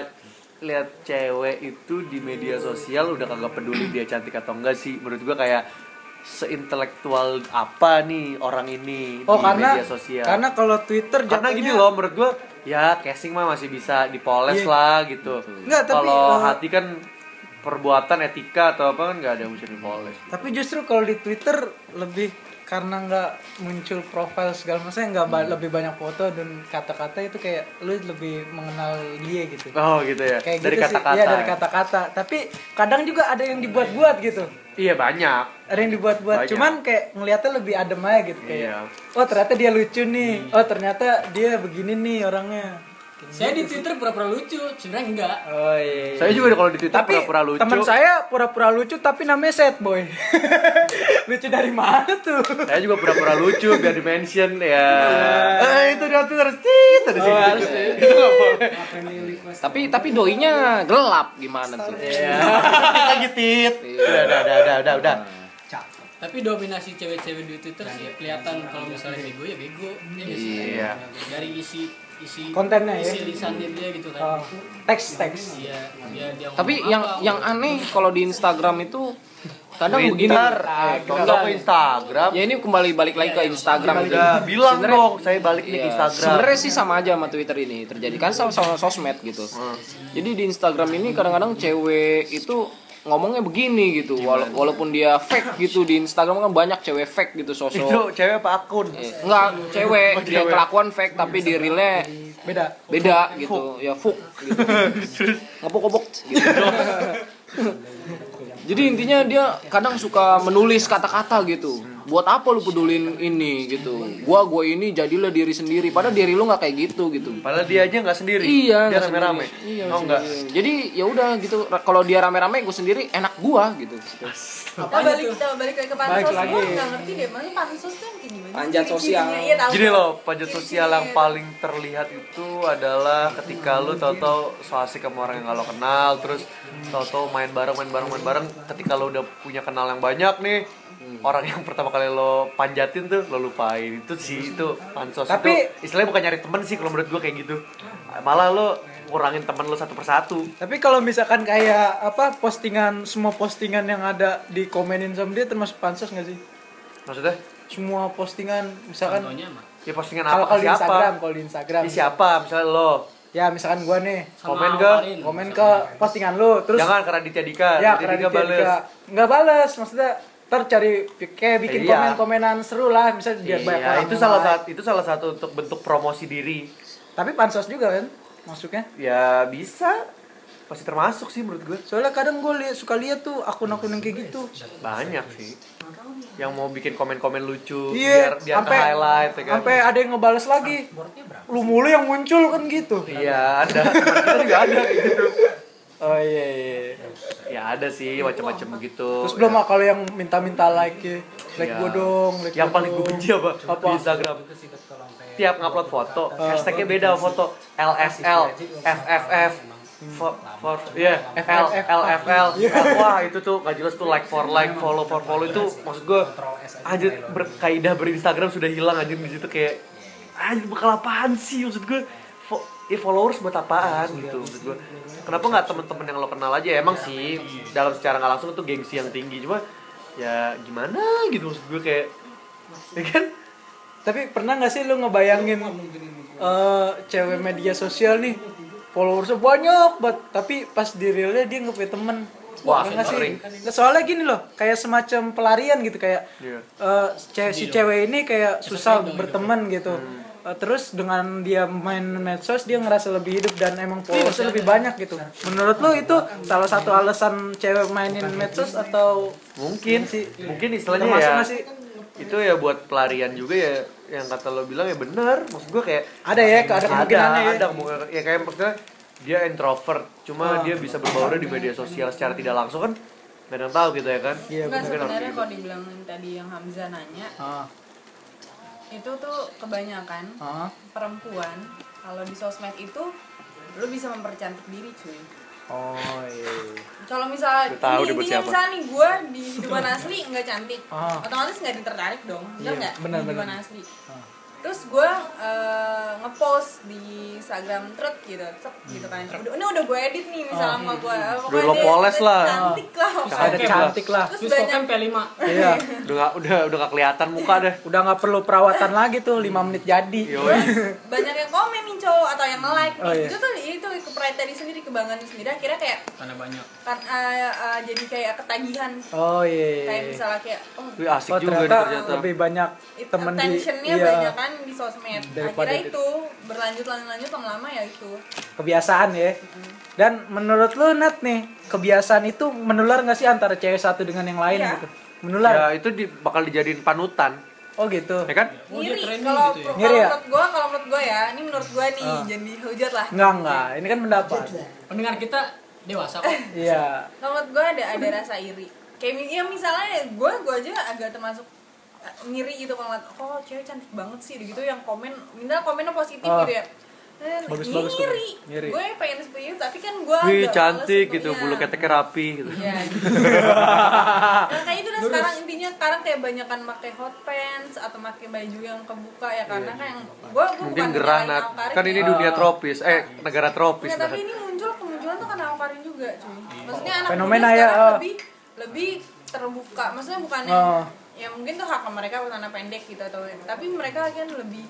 C: lihat cewek itu di media sosial udah kagak peduli dia cantik atau enggak sih. Menurut gue kayak seintelektual apa nih orang ini
B: oh
C: di
B: karena
C: media sosial.
B: karena kalau Twitter
C: Iya. karena
B: jatuhnya-
C: gini loh menurut gua ya casing mah masih bisa dipoles
B: Iya.
C: lah gitu
B: Nggak, tapi,
C: kalau
B: eh,
C: hati kan perbuatan etika atau apa kan nggak ada yang bisa dipoles
B: tapi justru kalau di Twitter lebih karena nggak muncul profil segala macam saya nggak ba-
C: Hmm.
B: lebih banyak foto dan kata-kata itu kayak lu lebih mengenal dia gitu
C: oh gitu ya
B: kayak
C: dari
B: gitu sih.
C: kata-kata
B: Iya, dari
C: ya.
B: kata-kata tapi kadang juga ada yang dibuat-buat gitu
C: iya banyak
B: ada yang dibuat-buat
C: Banyak.
B: cuman kayak ngeliatnya lebih adem aja gitu kayak
C: Iya. Hmm.
B: oh ternyata dia lucu nih oh ternyata dia begini nih orangnya
D: Saya di Twitter pura-pura lucu, sebenarnya enggak.
B: oh iya
C: saya juga kalau di twitter
B: tapi
C: pura-pura lucu
B: teman saya pura-pura lucu tapi namanya set boy lucu dari mana tuh
C: saya juga pura-pura lucu biar di mention ya
B: Iya.
C: eh, itu di hati harus tit ada
B: Oh,
C: sini itu nggak boleh
A: Tapi tapi doinya gelap gimana tuh?
B: ya.
C: lagi tit
B: Iya.
C: udah udah udah udah udah udah
D: Tapi dominasi cewek-cewek di Twitter
B: Nah,
D: sih kelihatan kalau misalnya bego ya bego. Iya. nggak sih?
C: Iya.
D: Dari isi isi
B: Kontennya ya?
D: isi lisannya dia gitu
B: Oh,
D: kan.
B: teks teks
D: Iya, dia dia ngomong
A: Tapi
D: apa,
A: yang
D: ngomong
A: yang aneh kalau di Instagram itu kadang begini.
C: Twitter, contoh ke Instagram,
B: Iya,
A: Ya ini kembali balik lagi ke Instagram gitu.
C: udah bilang
A: Sebenarnya-
C: dong, saya balik nih ke
A: Iya,
C: Instagram.
A: Sebenarnya sih sama aja sama Twitter ini
C: Hmm.
A: terjadi kan sama sama sosmed gitu. Jadi di Instagram ini kadang-kadang cewek itu ngomongnya begini gitu Wala- walaupun dia fake gitu di Instagram kan banyak cewek fake gitu sosok
C: Itu cewek apa akun?
A: Eh, enggak Oh, cewek dia kelakuan fake tapi di realnya
B: beda
A: beda gitu ya fuk gitu ngepok-ngepok gitu. jadi intinya dia kadang suka menulis kata-kata gitu buat apa lu pedulin ini gitu gua gua ini jadilah diri sendiri padahal diri lu nggak kayak gitu gitu
C: Padahal dia aja nggak sendiri.
A: Iya,
C: dia
A: nggak
C: rame-rame.
A: sendiri. Iya,
C: oh enggak.
A: sendiri. Jadi ya udah gitu. Ra- Kalau dia rame-rame gue sendiri enak gua gitu.
F: Kita Nah, balik kita balik lagi ke pansos. Gue nggak ngerti deh, makanya pansos tuh kayak gimana?
A: Panjat sosial.
F: Ciri-cirinya, iya, tahu.
C: Jadi loh, pajak sosial yang
F: Ciri-cirinya.
C: paling terlihat itu adalah ketika lu tau-tau so asik sama orang yang gak lo kenal, terus tau-tau main bareng, main bareng, main bareng. Ketika lo udah punya kenal yang banyak nih, orang yang pertama kali lo panjatin tuh lo lupain itu sih itu pansos
B: Tapi-
C: itu istilahnya bukan nyari temen sih kalau menurut gue kayak gitu malah lo ngurangin temen lo satu persatu
B: tapi kalau misalkan kayak apa postingan semua postingan yang ada dikomenin sama dia termasuk pansos nggak sih
C: maksudnya
B: semua postingan misalkan
D: Contohnya mah.
C: ya postingan
B: kalau
C: apa
B: kalau di
C: siapa
B: Instagram kalau di Instagram
C: Ini siapa misalnya lo
B: ya misalkan gua nih
C: Komen
D: Sama
C: ke-
D: Karin.
B: komen ke postingan lu terus
C: jangan karena Raditya Dika
B: ya
C: Raditya
B: karena
C: Dika bales
B: nggak balas maksudnya ntar cari kayak bikin
C: Iya.
B: komen-komenan seru lah misalnya biar banyak
C: Iya,
B: orang
C: itu salah
B: nge-like.
C: satu itu salah satu untuk bentuk promosi diri.
B: tapi pansos juga kan masuknya
C: Ya bisa. Pasti termasuk sih menurut gue.
B: soalnya kadang gue suka lihat tuh akun-akun yang kayak gitu
C: Banyak sih. Yang mau bikin komen-komen lucu biar biar
B: iya
C: ke
B: sampai
C: highlight ya kan.
B: sampai ada yang ngebales lagi lu mulu yang muncul kan gitu
C: Iya, ada. Teman Kita juga ada kayak gitu.
B: oh iya, iya.
C: Ya ada sih macam-macam gitu.
B: terus belum ah, kalau yang minta-minta like ya like
C: Iya.
B: gue dong like
C: yang
B: gua
C: paling gue
B: dong.
C: benci Iya, apa?
B: Apa?
C: Di Instagram. Iya. Tiap ngupload foto, hashtagnya beda sama foto LSL, FFF, for, for, yeah, L, LFL. Wah itu tuh gak jelas tuh like for like, follow for follow itu maksud gue anjir berkaidah berinstagram sudah hilang anjir di situ kayak anjir bakal apaan sih maksud gue Fo- ya followers buat apaan gitu maksud gue kenapa nggak temen-temen yang lo kenal aja Ya, emang sih dalam secara nggak langsung itu gengsi yang tinggi cuma ya gimana gitu maksud gue kayak ya kan
B: Tapi pernah nggak sih lu ngebayangin eh cewek media sosial nih followersnya banyak banget, tapi pas di realnya dia nggak punya temen.
C: Wah,
B: Pernah nggak
C: sering.
B: Nggak, Soalnya gini loh, kayak semacam pelarian gitu kayak
C: Iya.
B: eh, ce- si cewek ini kayak susah berteman gitu.
C: Hmm.
B: Eh, terus dengan dia main medsos dia ngerasa lebih hidup dan emang followersnya lebih banyak gitu. Menurut lu itu salah satu alasan cewek mainin medsos atau
C: mungkin sih mungkin istilahnya
B: termasuk
C: ya
B: nggak sih?
C: itu ya buat pelarian juga ya yang kata lo bilang ya bener maksud gue kayak
B: Ada ya, ada kemungkinannya ya. Ah.
C: ada kemungkinan- ya kayak maksudnya dia introvert cuma dia bisa berbaur di media sosial secara tidak langsung kan gak ada yang tahu gitu ya kan
B: Iya,
F: Enggak
C: Mungkin harus
F: sebenarnya
C: gitu.
F: kalau dibilangin tadi yang Hamzah nanya,
B: Ah,
F: itu tuh kebanyakan
B: ah.
F: perempuan kalau di sosmed itu lu bisa mempercantik diri cuy
B: Oh iya. iya.
F: kalau
C: Lu
F: misalnya
C: tahu dia
F: ini
C: buat
F: intinya
C: siapa.
F: misalnya nih gue di kehidupan asli nggak cantik
B: Ah.
F: otomatis nggak ditertarik dong bener
B: Iya,
F: nggak
B: bener, Ah.
F: di kehidupan
B: bener.
F: asli terus gue ngepost di Instagram thread gitu cep, gitu kan
B: Hmm.
F: udah, ini udah gue edit nih
B: Ah,
F: misalnya
B: iya,
F: sama gue
C: Udah lo poles lah.
F: cantik lah
B: Ada
F: pokoknya.
B: cantik lah.
F: terus
D: Terus
F: banyak
D: kan P5.
B: Iya.
C: udah gak, udah udah gak kelihatan muka deh
B: Udah nggak perlu perawatan lagi tuh, 5 menit jadi.
C: Yoi.
F: banyak yang komen nih cowok atau yang like
B: Oh, iya.
F: itu tuh itu kepride tadi sendiri kebanggaan sendiri akhirnya kayak
D: Karena banyak.
F: kan eh, eh, jadi kayak ketagihan
B: Oh iya.
F: kayak misalnya kayak oh
C: Wih, asik
B: Oh,
C: juga nih
B: ternyata,
C: ternyata
B: lebih banyak
F: it-
B: temen di
F: attentionnya
B: iya,
F: banyak kan di sosmed
B: Daripada
F: akhirnya
B: di-
F: itu berlanjut lanjut lanjut lama-lama ya itu
B: kebiasaan ya.
F: Mm-hmm.
B: Dan menurut lu Nat nih, kebiasaan itu menular nggak sih antara cewek satu dengan yang lain
F: Iya.
B: gitu?
C: ya
B: Menular.
C: itu di- bakal dijadiin panutan
B: Oh gitu.
C: ya kan
D: Oh, dia
F: ngiri
D: trending
F: kalau
D: gitu ya?
F: kalau
B: Ngiri ya? Ah.
F: menurut gue kalau menurut gue ya ini menurut gue nih jadi hujat lah
B: Enggak enggak, ini kan mendapat.
D: Pendengar kita dewasa kok.
B: Iya.
F: kalau Nah, menurut gue ada ada rasa iri kayak mi- ya misalnya gue gue aja agak termasuk eh, ngiri gitu kalau ngeliat oh cewek cantik banget sih gitu yang komen minta komennya positif
B: Ah.
F: gitu ya Eh,
B: Bagus,
F: ngiri,
B: bagus, bagus. Ngiri.
F: gue pengen seperti itu tapi kan gue
C: wih
F: agak
C: cantik
F: males
C: gitu
F: sebenarnya.
C: bulu keteknya rapi gitu
F: Ya. nah, kayak itu udah sekarang intinya sekarang kayak banyakan pakai hot pants atau pakai baju yang kebuka ya karena kan yang gua gua
C: Iya. mungkin
F: bukan
C: gerah
F: nyalain
C: Nat.
F: Awkarin
C: kan ini
F: ya.
C: dunia tropis eh negara tropis
F: Nggak, Iya, tapi
C: bahkan.
F: ini muncul kemunculan tuh karena awkarin juga cuy. Maksudnya anak
B: Oh, Fenomena
F: muda
B: ya,
F: sekarang
B: ah.
F: lebih lebih terbuka. Maksudnya bukan yang
B: Ah.
F: ya mungkin tuh hak mereka karena pendek gitu atau tapi mereka kan lebih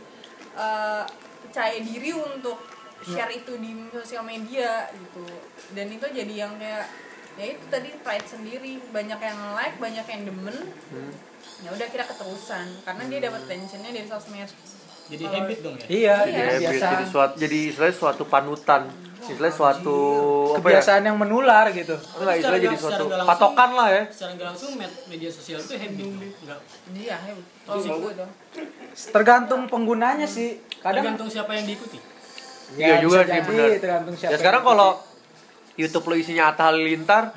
F: eh, percaya diri
B: Iya.
F: untuk share itu di sosial media gitu. Dan itu jadi yang kayak ya itu tadi pride sendiri banyak yang like banyak yang demen
B: Hmm.
F: ya udah kita keterusan karena dia dapat tensionnya dari sosmed
D: Jadi habit dong ya.
B: Iya,
F: Iya.
B: jadi
C: Jadi habit,
B: biasa.
C: jadi suatu jadi istilahnya suatu panutan istilahnya suatu apa ya
B: Kebiasaan yang menular gitu.
C: enggak istilahnya jadi
D: Secara
C: suatu
D: nggak langsung-
C: patokan lah ya
D: Secara nggak langsung med- media sosial itu habit loh. Nggak
F: iya ya kalau gue dong
B: Tergantung penggunanya
F: Hmm.
B: sih. Kadang
D: tergantung siapa yang diikuti.
C: iya
B: Ya,
C: juga
B: bisa
C: sih
B: jadi,
C: benar
B: tergantung siapa
C: ya sekarang
B: yang
C: kalau YouTube lo isinya Atta Halilintar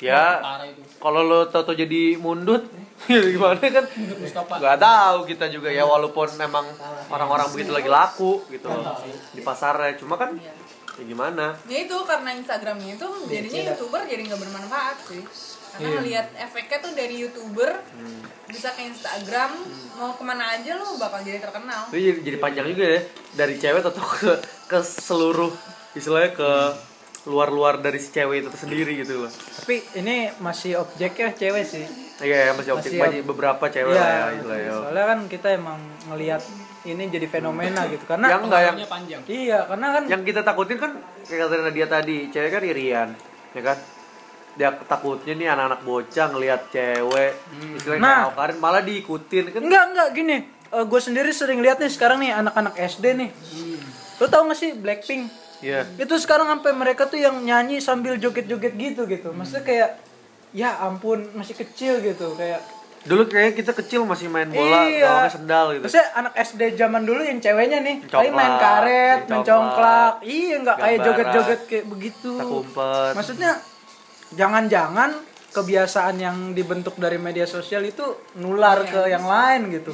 C: ya
D: Hmm. Parah itu.
C: kalau lo tau-tau jadi mundut ya gimana kan
D: Mustafa.
C: nggak tahu kita juga ya walaupun emang orang-orang begitu lagi laku gitu loh di pasarnya cuma kan
F: Iya.
C: ya gimana
F: ya itu karena Instagramnya itu
C: Iya,
F: jadinya youtuber jadi nggak bermanfaat sih karena melihat efeknya tuh dari youtuber
C: Hmm.
F: bisa ke Instagram mau kemana aja lo bakal jadi terkenal
C: Itu jadi, jadi panjang juga ya dari cewek atau ke ke seluruh istilahnya ke luar-luar dari si cewek itu sendiri gitu loh.
B: tapi ini masih objek ya cewek sih.
C: Iya ya masih objek
B: Masih Iya,
C: masih beberapa cewek lah ya istilahnya.
B: Soalnya kan kita emang ngelihat ini jadi fenomena gitu karena
C: Yang enggak yang
D: Hanya panjang.
B: iya karena kan
C: yang kita takutin kan kayak kata dia tadi, cewek kan irian, ya kan? Dia takutnya nih anak-anak bocah ngelihat cewek istilahnya
B: Nah.
C: nah. malah diikutin kan
B: enggak enggak gini gue sendiri sering lihat nih sekarang nih anak-anak SD nih lo tau gak sih Blackpink
C: Iya.
B: itu sekarang sampai mereka tuh yang nyanyi sambil joget-joget gitu gitu maksudnya kayak ya ampun masih kecil gitu kayak
C: Dulu kayaknya kita kecil masih main bola,
B: Iya.
C: gawangnya sendal gitu.
B: Maksudnya anak SD zaman dulu yang ceweknya nih, paling main
C: Mencongklak,
B: karet,
C: mencongklak,
B: mencongklak. Iya, nggak kayak
C: gambaran,
B: joget-joget kayak begitu.
C: tak umpet.
B: Maksudnya jangan-jangan kebiasaan yang dibentuk dari media sosial itu nular ke yang lain gitu.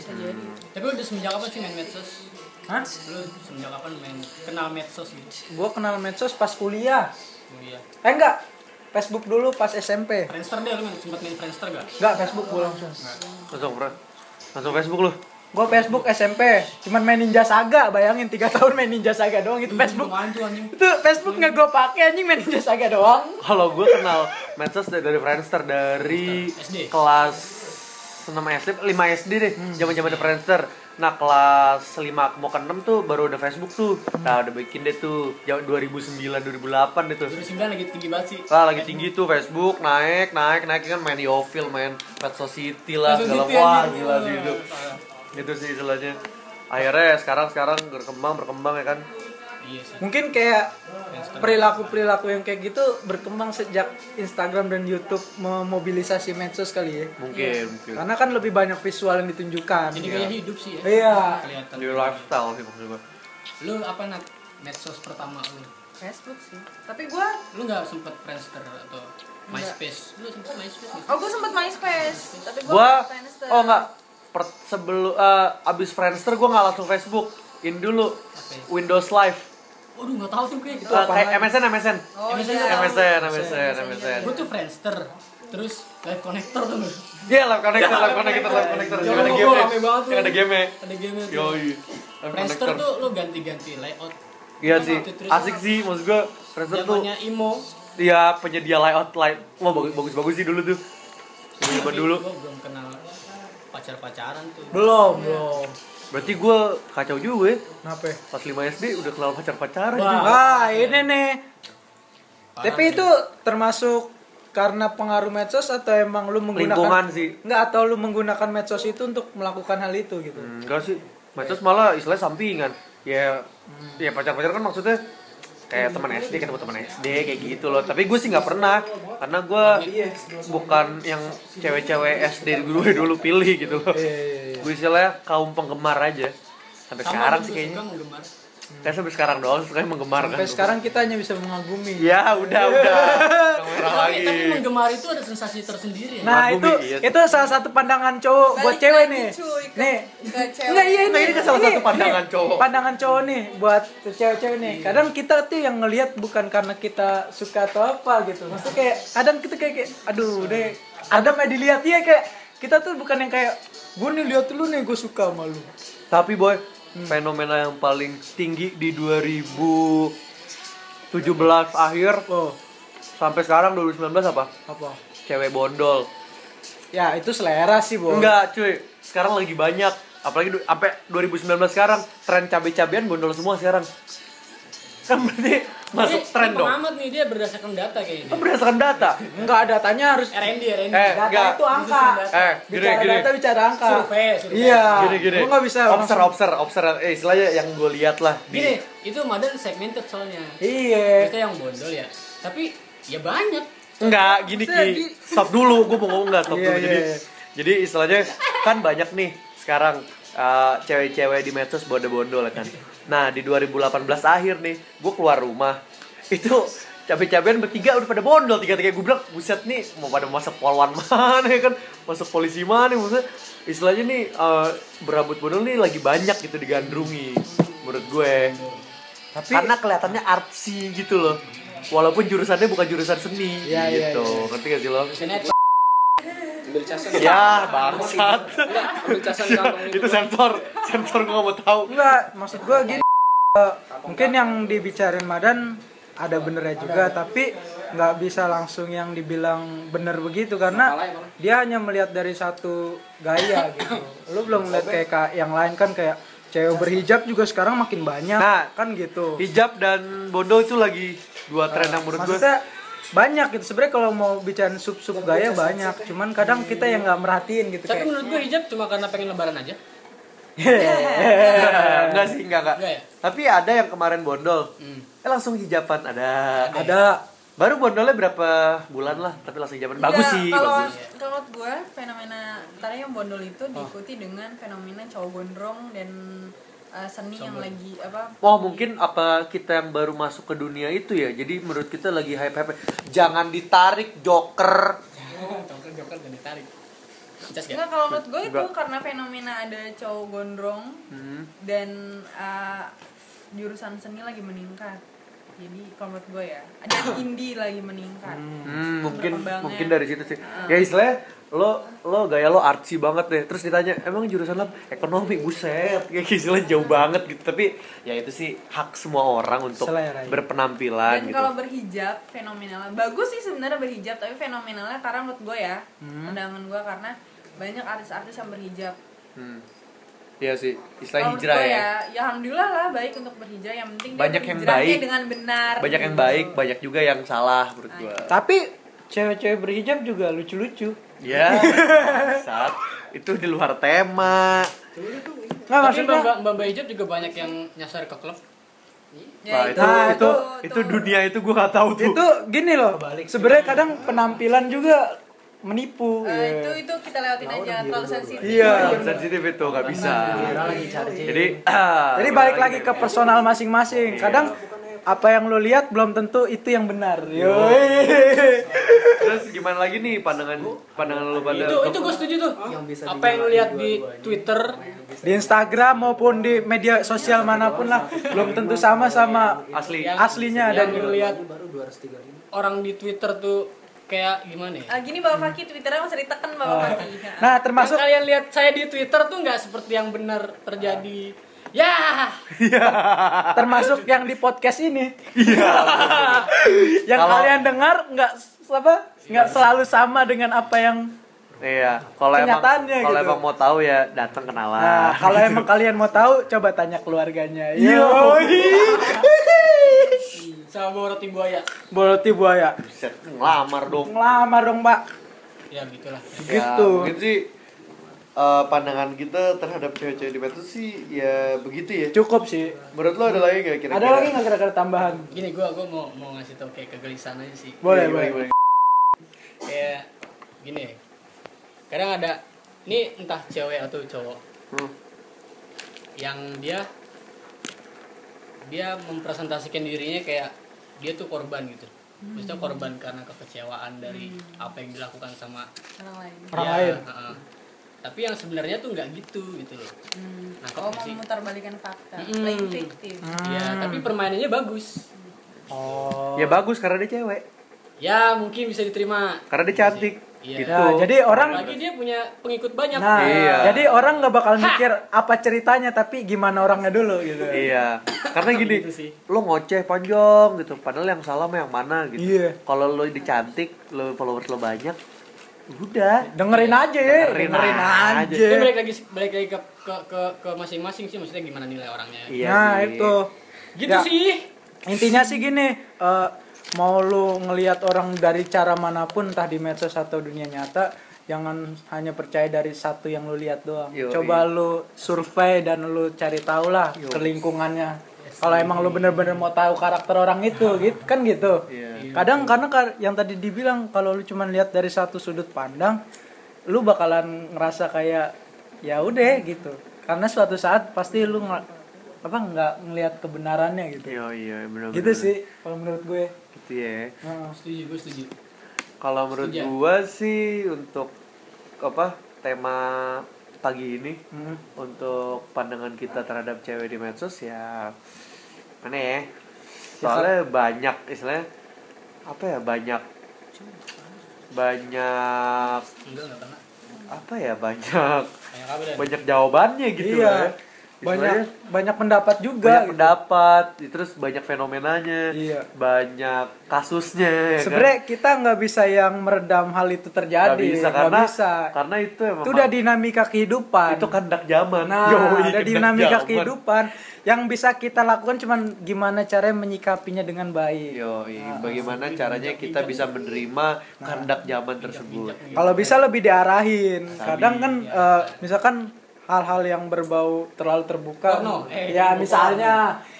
D: Tapi udah semenjak kapan sih main medsos?
B: Hah?
D: Lu semenjak kapan main kenal medsos gitu?
B: Gua kenal medsos pas kuliah.
D: Oh iya.
B: Eh enggak, Facebook dulu pas SMP.
D: Friendster deh lu main sempat main Friendster gak?
B: Enggak, Facebook gua langsung.
C: Langsung Fran. Langsung Facebook lu.
B: Gua Facebook SMP, cuman main Ninja Saga, bayangin 3 tahun main Ninja Saga doang itu Facebook.
D: Main tuh anjing.
B: Itu Facebook nggak gua pakai anjing main Ninja Saga doang.
C: Kalau gue kenal medsos dari, dari Friendster dari
D: SD.
C: kelas 6 SD, 5 SD deh, zaman-zaman ada Friendster. Nah, kelas 5 mau ke 6 tuh baru ada Facebook tuh. Nah, udah bikin deh tuh jauh 2009 2008 deh tuh.
D: 2009 lagi tinggi banget sih.
C: Wah, lagi tinggi tuh Facebook, naik, naik, naik kan main Yofil, main Pet Society lah,
D: Pet
C: segala
D: Society,
C: wah,
D: anjing.
C: gila sih itu. Gitu sih istilahnya. Akhirnya sekarang sekarang berkembang berkembang ya kan.
D: Iya sih.
B: mungkin kayak perilaku perilaku yang kayak gitu berkembang sejak Instagram dan YouTube memobilisasi medsos kali ya
C: Mungkin, mungkin.
B: karena kan lebih banyak visual yang ditunjukkan
D: Jadi gaya hidup sih ya.
B: iya
D: Kelihatan.
C: Di lifestyle sih maksud gue.
D: Lu apa nat medsos pertama lu?
F: Facebook sih tapi gue
D: Lu nggak sempet Friendster atau MySpace? Lu sempet MySpace nggak?
F: oh gue sempet MySpace tapi gue
C: gua oh enggak per, sebelum eh, abis Friendster gua nggak langsung Facebook in dulu Windows Live
D: Waduh nggak tahu tuh gue.
C: Eh, kayak MSN MSN
F: oh
D: MSN
F: iya
C: MSN MSN MSN
D: Gue tuh Friendster. Terus live connector tuh. lu.
C: dia live connector live connector live connector yang ada
D: Yo,
C: game
D: rame banget tuh.
C: yang ada game
D: Ada game itu.
C: yoi live
D: Friendster
C: connector
D: tuh lu ganti-ganti layout.
C: iya
D: Lu
C: sih
D: ganti terus.
C: asik sih maksud gua Friendster tuh
D: Zamannya emo.
C: ya penyedia layout live wah bagus bagus bagus sih dulu tuh Zaman
D: Tapi
C: dulu
D: Gua belum kenal pacar-pacaran tuh.
B: belum belum
C: berarti gua kacau juga ya
B: kenapa ya?
C: pas 5 SD udah kenal pacar pacaran
D: Wah.
B: ah ini nih tapi itu termasuk karena pengaruh medsos atau emang lu menggunakan
C: lingkungan sih
B: enggak atau lu menggunakan medsos itu untuk melakukan hal itu gitu
C: Enggak sih. Medsos malah istilahnya sampingan. Ya ya pacar-pacar kan maksudnya kayak teman SD ketemu teman SD kayak gitu loh. Tapi gue sih nggak pernah karena gue bukan yang cewek-cewek SD gue dulu pilih gitu loh.
B: Iya,
C: Gue istilahnya kaum penggemar aja. Sampai sekarang sih kayaknya.
D: Kamu gemar.
C: Kayak sampai sekarang doang sukanya menggemar
B: sampai
C: kan.
B: sekarang kita hanya bisa mengagumi
C: Ya udah udah. Yang merah
D: Tapi,
C: lagi.
D: tapi menggemar itu ada sensasi tersendiri ya.
B: nah itu
C: Mengagumi, iya.
B: itu salah satu pandangan cowok buat
F: Balik
B: cewek
F: lagi,
B: nih
F: cuy, ke-
B: nih
F: ke cewek.
B: Enggak, iya ini,
C: Nah, ini kan salah satu pandangan cowok. Iya.
B: Pandangan cowok nih buat cewek-cewek nih. Kadang kita tuh yang ngelihat bukan karena kita suka atau apa gitu. Maksudnya kayak kadang kita kayak, kayak,
C: Iya.
B: aduh deh, ada mah dilihat ya kayak kita tuh bukan yang kayak gue nih lihat lu nih gue suka sama lu.
C: Tapi boy,
B: Hmm.
C: fenomena yang paling tinggi di 2017 akhir
B: Oh,
C: sampai sekarang 2019 apa?
B: apa?
C: Cewek bondol.
B: Ya itu selera sih, Bo.
C: Enggak, cuy. Sekarang lagi banyak. Apalagi du- sampai 2019 sekarang tren cabe-cabean bondol semua sekarang. Kan berarti Masuk
D: Dia-
C: tren
D: dia
C: dong. Kan
D: pengamat nih dia berdasarkan data kayaknya.
B: berdasarkan data enggak datanya harus
D: R&D,
C: Eh,
D: R&D.
B: data
C: enggak.
B: itu angka
C: Eh, gini,
B: bicara
C: gini.
B: data bicara angka
D: Survei, survei.
B: iya
C: Gini, gini.
B: gua nggak bisa
C: Obser,
B: langsung.
C: obser, obser. Eh, istilahnya yang gue lihat lah. di-
D: Gini, itu model segmented soalnya.
B: iya
D: Kita yang bondol ya. Tapi ya banyak.
C: Enggak, gini
B: Maksudnya
C: Ki.
B: di-
C: Stop dulu, gue mau ngomong enggak stop
B: Iya,
C: dulu.
B: iya,
C: Jadi
B: iya.
C: jadi istilahnya kan banyak nih sekarang eh, cewek-cewek di medsos bondo-bondol kan. Nah, di 2018 akhir nih, gue keluar rumah. Itu cabe-cabean bertiga udah pada bondol tiga-tiga gue bilang buset nih mau pada masuk polwan mana ya kan masuk polisi mana maksudnya istilahnya nih eh, berambut bondol nih lagi banyak gitu digandrungi menurut gue karena kelihatannya artsy gitu loh walaupun jurusannya bukan jurusan seni
B: Iya,
C: gitu ngerti gak sih lo
D: Misalnya
A: ambil casan
C: ya bangsat
A: ambil casan di kantong
C: itu sensor sensor gua nggak mau tahu
B: enggak maksud gua gini eh, mungkin yang dibicarain Madan ada benernya juga tapi nggak bisa langsung yang dibilang bener begitu karena dia hanya melihat dari satu gaya gitu lu belum melihat kayak ka- yang lain kan kayak cewek berhijab juga sekarang makin banyak
C: Nah,
B: kan gitu
C: hijab dan bondo itu lagi dua tren yang menurut gua
B: maksudnya banyak gitu sebenarnya kalau mau bicara sub-sub gaya banyak cuman kadang kita yang nggak merhatiin gitu
D: Tapi
B: kayak
D: menurut gue hijab cuma karena pengen lebaran aja.
C: enggak sih enggak enggak
D: Enggak ya?
C: tapi ada yang kemarin bondol eh langsung hijaban ada
B: ada
C: baru bondolnya berapa bulan lah tapi langsung hijaban bagus
F: Iya,
C: sih
F: kalau
C: bagus Oh.
F: kalau gue fenomena tadi yang bondol itu diikuti dengan fenomena cowok gondrong dan uh, seni yang lagi apa
C: Wah mungkin apa kita yang baru masuk ke dunia itu ya Jadi menurut kita lagi hype-hype Jangan ditarik joker
D: Joker-joker gak kan ditarik. Cas ya. gak?
F: Enggak, kalau menurut gue itu
C: Ya, Enggak. Hmm.
F: karena fenomena ada cowok gondrong dan uh, jurusan seni lagi meningkat jadi kalau menurut gue ya ada indie lagi meningkat
C: Hmm, mungkin
F: Berkembangnya.
C: mungkin dari situ sih.
B: Ah.
C: Ya istilahnya lo lo gaya lo artsy banget deh. Terus ditanya, "Emang jurusan lo apa?" ekonomi?" Buset, kayak istilahnya jauh banget gitu. Tapi ya itu sih hak semua orang untuk
B: Selera, iya.
C: berpenampilan
F: dan
C: gitu.
F: kalau berhijab fenomenalnya bagus sih sebenarnya berhijab tapi fenomenalnya karena menurut gue ya pandangan gue karena banyak artis-artis yang berhijab
C: Hmm. Iya sih,
F: Kalau
C: istilah
F: menurut
C: hijrah
F: gue
C: ya.
F: ya alhamdulillah lah baik untuk berhijrah yang penting dia
C: Banyak yang
F: berhijrahnya
C: baik.
F: dengan benar
C: Banyak yang
F: gitu.
C: baik, banyak juga yang salah menurut
F: Nah,
C: gua.
B: tapi cewek-cewek berhijab juga lucu-lucu
C: Ya. Saat itu di luar tema.
B: nggak
D: Tapi
B: maksudnya
D: mbak mbak mbak hijab juga banyak yang nyasar ke klub.
F: Ya,
C: Nah, itu, itu, itu dunia itu gua gak tahu tuh.
B: itu gini loh sebenarnya kadang penampilan juga menipu
F: Eh,
B: ya.
F: itu itu kita lewatin aja terlalu sensitif
C: Iya, sensitif itu nggak bisa. Jadi, ah,
B: jadi
C: Iya.
B: balik lagi ke personal masing-masing kadang apa yang lo lihat belum tentu itu yang benar Yoi.
C: Terus gimana lagi nih pandangan pandangan lu pada
D: Itu itu gue setuju tuh. Apa yang lu lihat di Twitter?
B: di Instagram maupun di media sosial manapun lah belum tentu sama sama
C: asli.
B: aslinya
D: Dan
B: dan
D: lu lihat orang di Twitter tuh kayak gimana ya?
F: Ah, gini Bapak Faki, Twitternya masih diteken Bapak Faki. Nah,
B: nah termasuk
D: Yang kalian lihat saya di Twitter tuh nggak seperti yang benar terjadi. Ya,
B: termasuk yang di podcast ini yang
C: Kalau-
B: kalian dengar nggak s- apa nggak selalu sama dengan apa yang
C: Iya, kalau emang
B: Kenyataannya
C: kalau
B: gitu.
C: emang mau tahu ya datang kenalan.
B: Nah, kalau emang kalian mau tahu, coba tanya keluarganya.
C: Iya.
B: Yo,
D: Ya, sama roti buaya.
B: Boloti buaya.
C: Buset, ngelamar dong.
B: Ngelamar dong, Mbak.
D: Ya gitulah.
B: Gitu.
C: Ya, mungkin sih eh, pandangan kita terhadap cewek-cewek di medsos sih ya begitu ya.
B: Cukup sih.
C: Menurut lo ada lagi nggak kira-kira?
B: Ada lagi nggak kira-kira tambahan?
D: Gini gua gua mau mau ngasih tau kayak kegelisahan aja sih.
C: Iya,
B: Boleh,
C: Gimana,
B: boleh.
C: gimana?
D: Kayak gini. ya. Kadang ada ini entah cewek atau cowok
C: Hmm.
D: yang dia dia mempresentasikan dirinya kayak dia tuh korban gitu. Maksudnya korban karena kekecewaan dari apa yang dilakukan sama
F: orang lain.
B: Orang
D: dia,
B: lain.
D: heeh. Tapi yang sebenarnya tuh nggak gitu gitu loh.
F: Hmm.
D: Nah,
F: Oh,
D: kalau sih.
F: memutarbalikan fakta,
D: Mm-mm.
F: playing victim.
B: Hmm.
C: Hmm.
D: Ya, tapi permainannya bagus.
B: Oh.
C: Ya bagus karena dia cewek,
D: Ya, mungkin bisa diterima.
C: karena dia cantik.
D: Iya.
C: Gitu.
B: Nah, jadi orang
D: Lagi dia punya pengikut banyak.
B: Nah,
C: Iya.
B: jadi orang nggak bakal mikir apa ceritanya, tapi gimana orangnya dulu gitu.
C: Iya, karena gini,
D: Gitu sih.
C: lo ngoceh panjang gitu, padahal yang salah mah yang mana gitu.
B: Iya.
C: Kalau lo dicantik, lo followers lo banyak, udah.
B: Dengerin aja ya,
C: Dengerin
B: dengerin
C: aja.
B: aja.
D: Itu balik lagi balik lagi ke ke ke, ke masing-masing sih maksudnya gimana nilai orangnya.
C: Iya
B: Nah,
C: sih.
B: itu.
D: Gitu
B: Ya.
D: sih.
B: intinya sih gini eh, mau lu ngelihat orang dari cara manapun entah di medsos atau dunia nyata jangan hanya percaya dari satu yang lu lihat doang
C: Yoi.
B: coba lu survei dan lu cari tahu lah ke lingkungannya kalau emang lu bener-bener mau tahu karakter orang itu gitu kan gitu kadang karena kar- yang tadi dibilang kalau lu cuman lihat dari satu sudut pandang lu bakalan ngerasa kayak ya udah gitu karena suatu saat pasti lu ngel- apa nggak ngelihat kebenarannya gitu
C: Iya iya benar.
B: gitu sih kalau menurut gue
C: Gitu ya.
B: Heeh.
D: setuju gue setuju
C: Kalau menurut
D: Setuju.
C: gua sih untuk apa tema pagi ini untuk pandangan kita terhadap cewek di medsos ya mana ya soalnya banyak istilahnya apa ya banyak banyak
D: enggak enggak pernah
C: apa ya banyak
D: banyak apa dan
C: banyak jawabannya gitu
B: Iya.
C: lah ya.
B: banyak
C: Istilahnya
B: banyak pendapat juga
C: banyak
B: gitu.
C: pendapat terus banyak fenomenanya
B: Iya.
C: banyak kasusnya ya kan?
B: sebenarnya kita nggak bisa yang meredam hal itu terjadi
C: Nggak bisa karena
B: bisa.
C: karena itu emang
B: itu udah dinamika kehidupan
C: itu kandak zaman
B: nah
C: Yoi,
B: ada
C: kandak
B: dinamika
C: zaman.
B: kehidupan yang bisa kita lakukan cuman gimana caranya menyikapinya dengan baik
C: Yoi,
B: Nah,
C: bagaimana caranya kita bisa menerima kandak zaman tersebut
B: Kalau bisa lebih diarahin. Kadang kan eh, misalkan hal-hal yang berbau terlalu terbuka.
D: Porno, eh,
B: ya
D: porno.
B: misalnya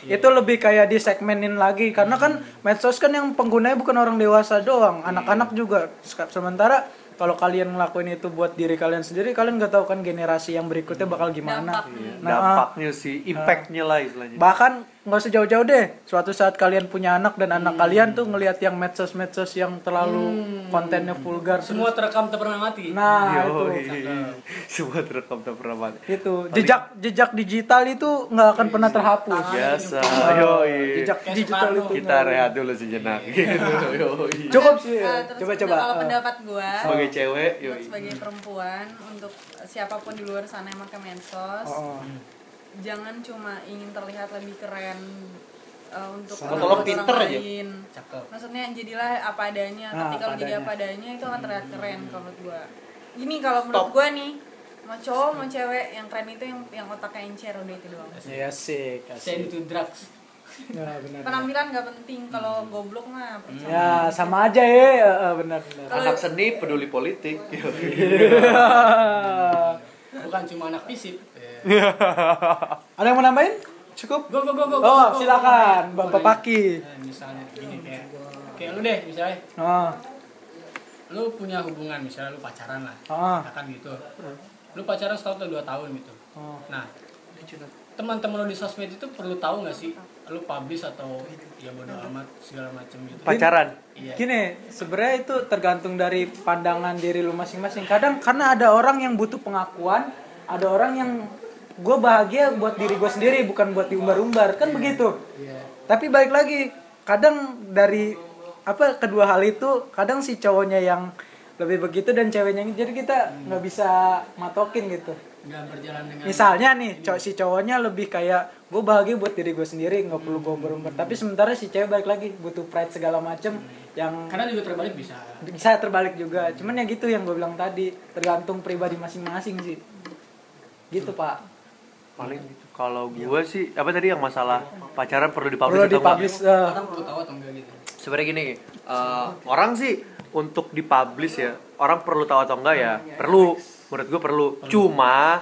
B: itu lebih kayak disegmenin lagi karena kan medsos kan yang penggunanya bukan orang dewasa doang, anak-anak juga. Sek- Sementara kalau kalian ngelakuin itu buat diri kalian sendiri, kalian gak tahu kan generasi yang berikutnya bakal gimana. Nah,
C: dampaknya sih impactnya lah istilahnya
B: bahkan nggak usah jauh-jauh deh suatu saat kalian punya anak dan anak kalian tuh ngelihat yang medsos-medsos yang terlalu kontennya vulgar
D: semua terekam tak pernah mati
B: Hmm. nah itu
C: Yoi, semua terekam tak pernah mati.
B: itu jejak jejak digital itu nggak akan pernah terhapus
C: biasa
B: Eh,
C: yoi
B: Nah, jejak Iya.
D: Kayak
B: digital
D: Soekarno.
B: itu
C: kita rehat dulu sejenak gitu yoi
B: cukup sih coba coba
F: coba Eh,
B: Ah.
F: Kalau pendapat gua
C: sebagai cewek
F: untuk
C: yoi
F: sebagai perempuan untuk siapapun di luar sana yang pakai mensos
B: Oh.
F: jangan cuma ingin terlihat lebih keren eh, untuk
C: Atau lo
F: orang-orang
C: pinter aja.
F: lain.
D: cakep
F: maksudnya jadilah apa adanya
B: Ah,
F: ketika
B: apa
F: lo jadi
B: adanya.
F: apa adanya itu akan terlihat keren kalau menurut gua gini kalau menurut gua nih mau cowok mau cewek yang keren itu yang yang otaknya encer udah itu doang
B: ya sih
D: send to drugs
B: ya benar
F: penampilan nggak penting kalau goblok mah percuma.
B: ya sama aja ya eh, eh, benar benar
C: anak seni peduli politik Yoi.
D: bukan cuma anak fisik
B: ada yang mau nambahin cukup
D: go go go go
B: oh
D: go, go, go.
B: silakan bapak Paki
D: Nah, misalnya gini kayak kayak lu deh misalnya
B: oh
D: lu punya hubungan misalnya lu pacaran lah
B: Ah.
D: katakan gitu lu pacaran setahun atau dua tahun gitu
B: oh
D: nah teman-teman lu di sosmed itu perlu tahu nggak sih lu publish atau ya bodo amat segala macam gitu
C: pacaran
D: iya
B: Gini, sebenarnya itu tergantung dari pandangan diri lu masing-masing. Kadang karena ada orang yang butuh pengakuan, ada orang yang gue bahagia buat diri gue sendiri, bukan buat diumbar-umbar, kan begitu. Tapi balik lagi, kadang dari apa kedua hal itu, kadang si cowoknya yang lebih begitu dan ceweknya yang- jadi kita nggak bisa matokin gitu.
D: nggak berjalan dengan
B: Misalnya nih, cow- si cowoknya lebih kayak gue bahagia buat diri gue sendiri, nggak perlu gue berumbar. Tapi sementara si cewek balik lagi butuh pride segala macem yang
D: karena juga terbalik bisa
B: bisa terbalik juga cuman ya gitu yang gue bilang tadi tergantung pribadi masing-masing sih gitu pak
C: paling gitu. kalau gua sih apa tadi yang masalah pacaran perlu dipublish
B: perlu
C: atau enggak?
B: dipublish eh,
D: orang perlu tahu atau enggak gitu
C: sebenarnya gini eh, orang sih untuk dipublish ya orang perlu tahu atau enggak ya perlu menurut gue perlu cuma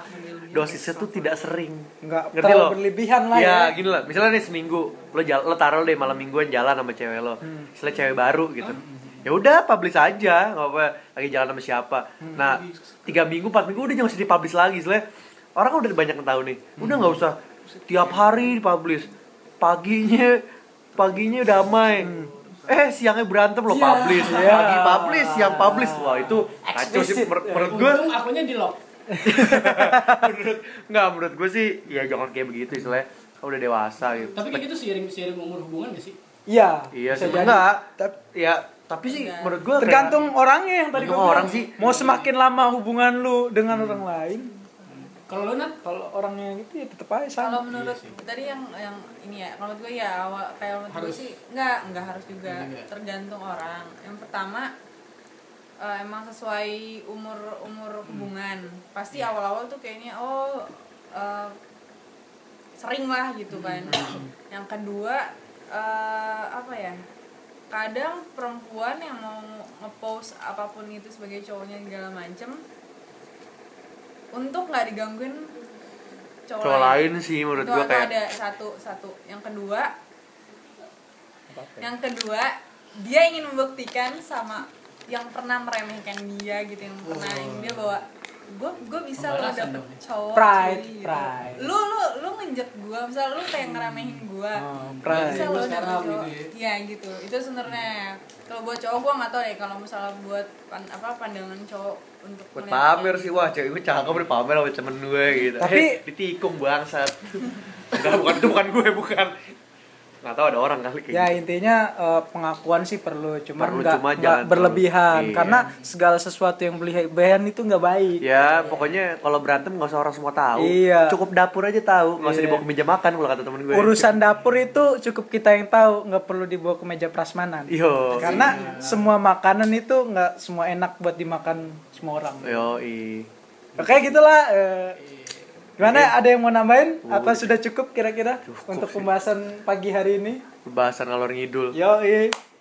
C: dosisnya tuh tidak sering
B: nggak
C: ngerti
B: terlalu
C: lo
B: berlebihan lah ya,
C: ya, gini lah misalnya nih seminggu lo jal lo taruh deh malam mingguan jalan sama cewek lo misalnya cewek baru gitu ya udah publish aja nggak apa lagi jalan sama siapa nah tiga minggu empat minggu udah jangan usah dipublish lagi soalnya orang kan udah banyak yang tahu nih udah nggak usah tiap hari dipublish paginya paginya damai eh siangnya berantem lo publish pagi publish siang publish wah itu kacau sih Mer- menurut gue
D: untung akunya di lock
C: menurut nggak menurut gue sih ya jangan kayak begitu istilahnya Kalau udah dewasa gitu
D: tapi kayak gitu seiring seiring umur hubungan gak sih
B: iya
C: Iya
B: bisa
C: sih,
B: jadi.
C: enggak.
B: Tap-
C: Ya, tapi sih
F: Iya.
C: menurut gua kayak-
B: tergantung orangnya yang tadi gue
C: Tergantung orang sih. Hmm.
B: mau semakin lama hubungan lu dengan orang lain
D: kalau lu nat
B: kalau orangnya gitu ya tetep aja sama
F: kalau menurut tadi yang yang ini ya kalau menurut gue ya awal kayak menurut gue sih nggak nggak harus juga tergantung orang yang pertama eh, emang sesuai umur umur hubungan pasti awal-awal tuh kayaknya oh eh, sering lah gitu kan yang kedua eh, apa ya kadang perempuan yang mau ngepost apapun itu sebagai cowoknya segala macem untuk nggak digangguin cowok,
C: cowok lain sih menurut
F: Itu-
C: gua
F: itu
C: kayak
F: ada satu satu yang kedua yang kedua dia ingin membuktikan sama yang pernah meremehkan dia gitu yang pernah yang dia bawa gue gue bisa lo
D: Pembalasan
F: dapet
D: dong.
F: cowok
B: Pride,
F: cuy," gitu.
B: pride.
F: lu lu lu nginjek gue misal lu kayak ngeremehin gue
C: Oh,
F: bisa lo dapet
E: sekarang
F: cowok
E: gitu
F: ya gitu itu sebenarnya kalau buat cowok gue nggak tau deh kalau misalnya buat pan- apa pandangan cowok untuk
C: buat ya,
F: melihat kayak
C: pamer sih
F: gitu.
C: wah cewek gue cakep nih pamer sama temen gue gitu
B: Tapi-
C: Eh, ditikung bangsat Enggak, bukan itu bukan gue bukan nggak tahu ada orang kali kayak
B: ya
C: gitu.
B: intinya eh, pengakuan sih perlu cuman
C: Perlu,
B: nggak
C: cuma
B: nggak
C: jangan
B: berlebihan
C: terlalu- iya.
B: karena segala sesuatu yang berlebihan itu nggak baik
C: Ya, pokoknya kalau berantem nggak usah orang semua tahu.
B: Iya.
C: Cukup dapur aja tahu, nggak usah
B: Iya.
C: dibawa ke meja makan kalau kata temen gue.
B: urusan dapur itu cukup kita yang tahu nggak perlu dibawa ke meja prasmanan
C: Yo.
B: karena semua makanan itu nggak semua enak buat dimakan semua orang
C: Yo, i.
B: oke gitulah eh, gimana ada yang mau nambahin apa sudah cukup kira-kira untuk pembahasan pagi hari ini
C: Pembahasan ngalor ngidul.
B: yo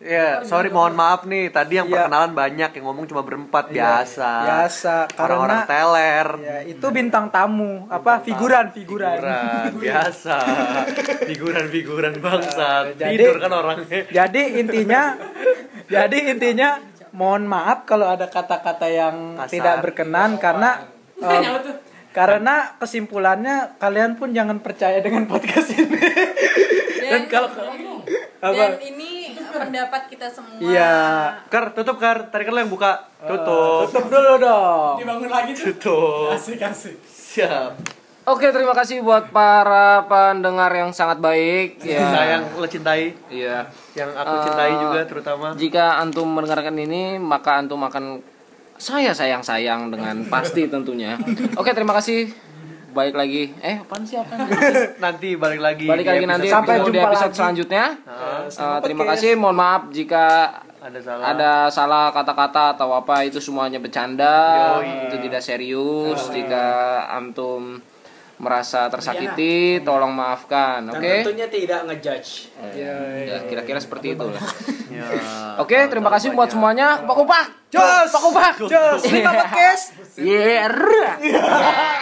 C: Ya, sorry mohon maaf nih. Tadi yang
B: Iya.
C: perkenalan banyak, yang ngomong cuma berempat biasa.
B: Ah, biasa
C: Orang-orang
B: karena
C: teler.
B: ya, itu bintang tamu apa figuran figuran,
C: Figuran, biasa. Figuran-figuran bangsa.
B: Jadi-
C: Tidur kan orangnya.
B: jadi intinya jadi intinya mohon maaf kalau ada kata-kata yang
C: Kasar.
B: tidak berkenan karena um,
D: Nyawa tuh.
B: karena kesimpulannya kalian pun jangan percaya dengan podcast ini dan kalau
F: dan
B: apa
F: ini pendapat kita semua
B: Iya.
C: Kar, tutup Kar. Tadi kan lo yang buka. Tutup.
B: tutup dulu dong
D: Dibangun lagi tuh.
C: Tutup.
D: Asik asik.
C: Siap.
A: Oke, terima kasih buat para pendengar yang sangat baik. Ya.
C: Sayang lo Nah, cintai.
A: Iya.
C: Yang aku cintai
A: Eh,
C: juga terutama.
A: Jika antum mendengarkan ini, maka antum akan saya sayang sayang dengan pasti tentunya. Oke, terima kasih. Baik lagi. Eh, apaan sih apaan?
C: nanti balik lagi.
A: Balik
C: di
A: lagi
C: episode
A: nanti
B: Sampai
A: ketemu di
B: jumpa
A: episode
B: lagi.
A: selanjutnya.
C: Nah,
A: Eh, terima kasih. Mohon maaf jika
C: ada salah.
A: ada salah kata-kata atau apa itu semuanya bercanda
C: Yoi. Ah.
A: itu tidak serius jika antum merasa tersakiti
C: Iya.
A: tolong maafkan oke
E: Dan tentunya tidak ngejudge.
A: ya kira-kira seperti itu lah
C: Ya.
A: oke terima kasih buat semuanya pak kupak
B: jos pak kupak jos lima podcast
A: yeah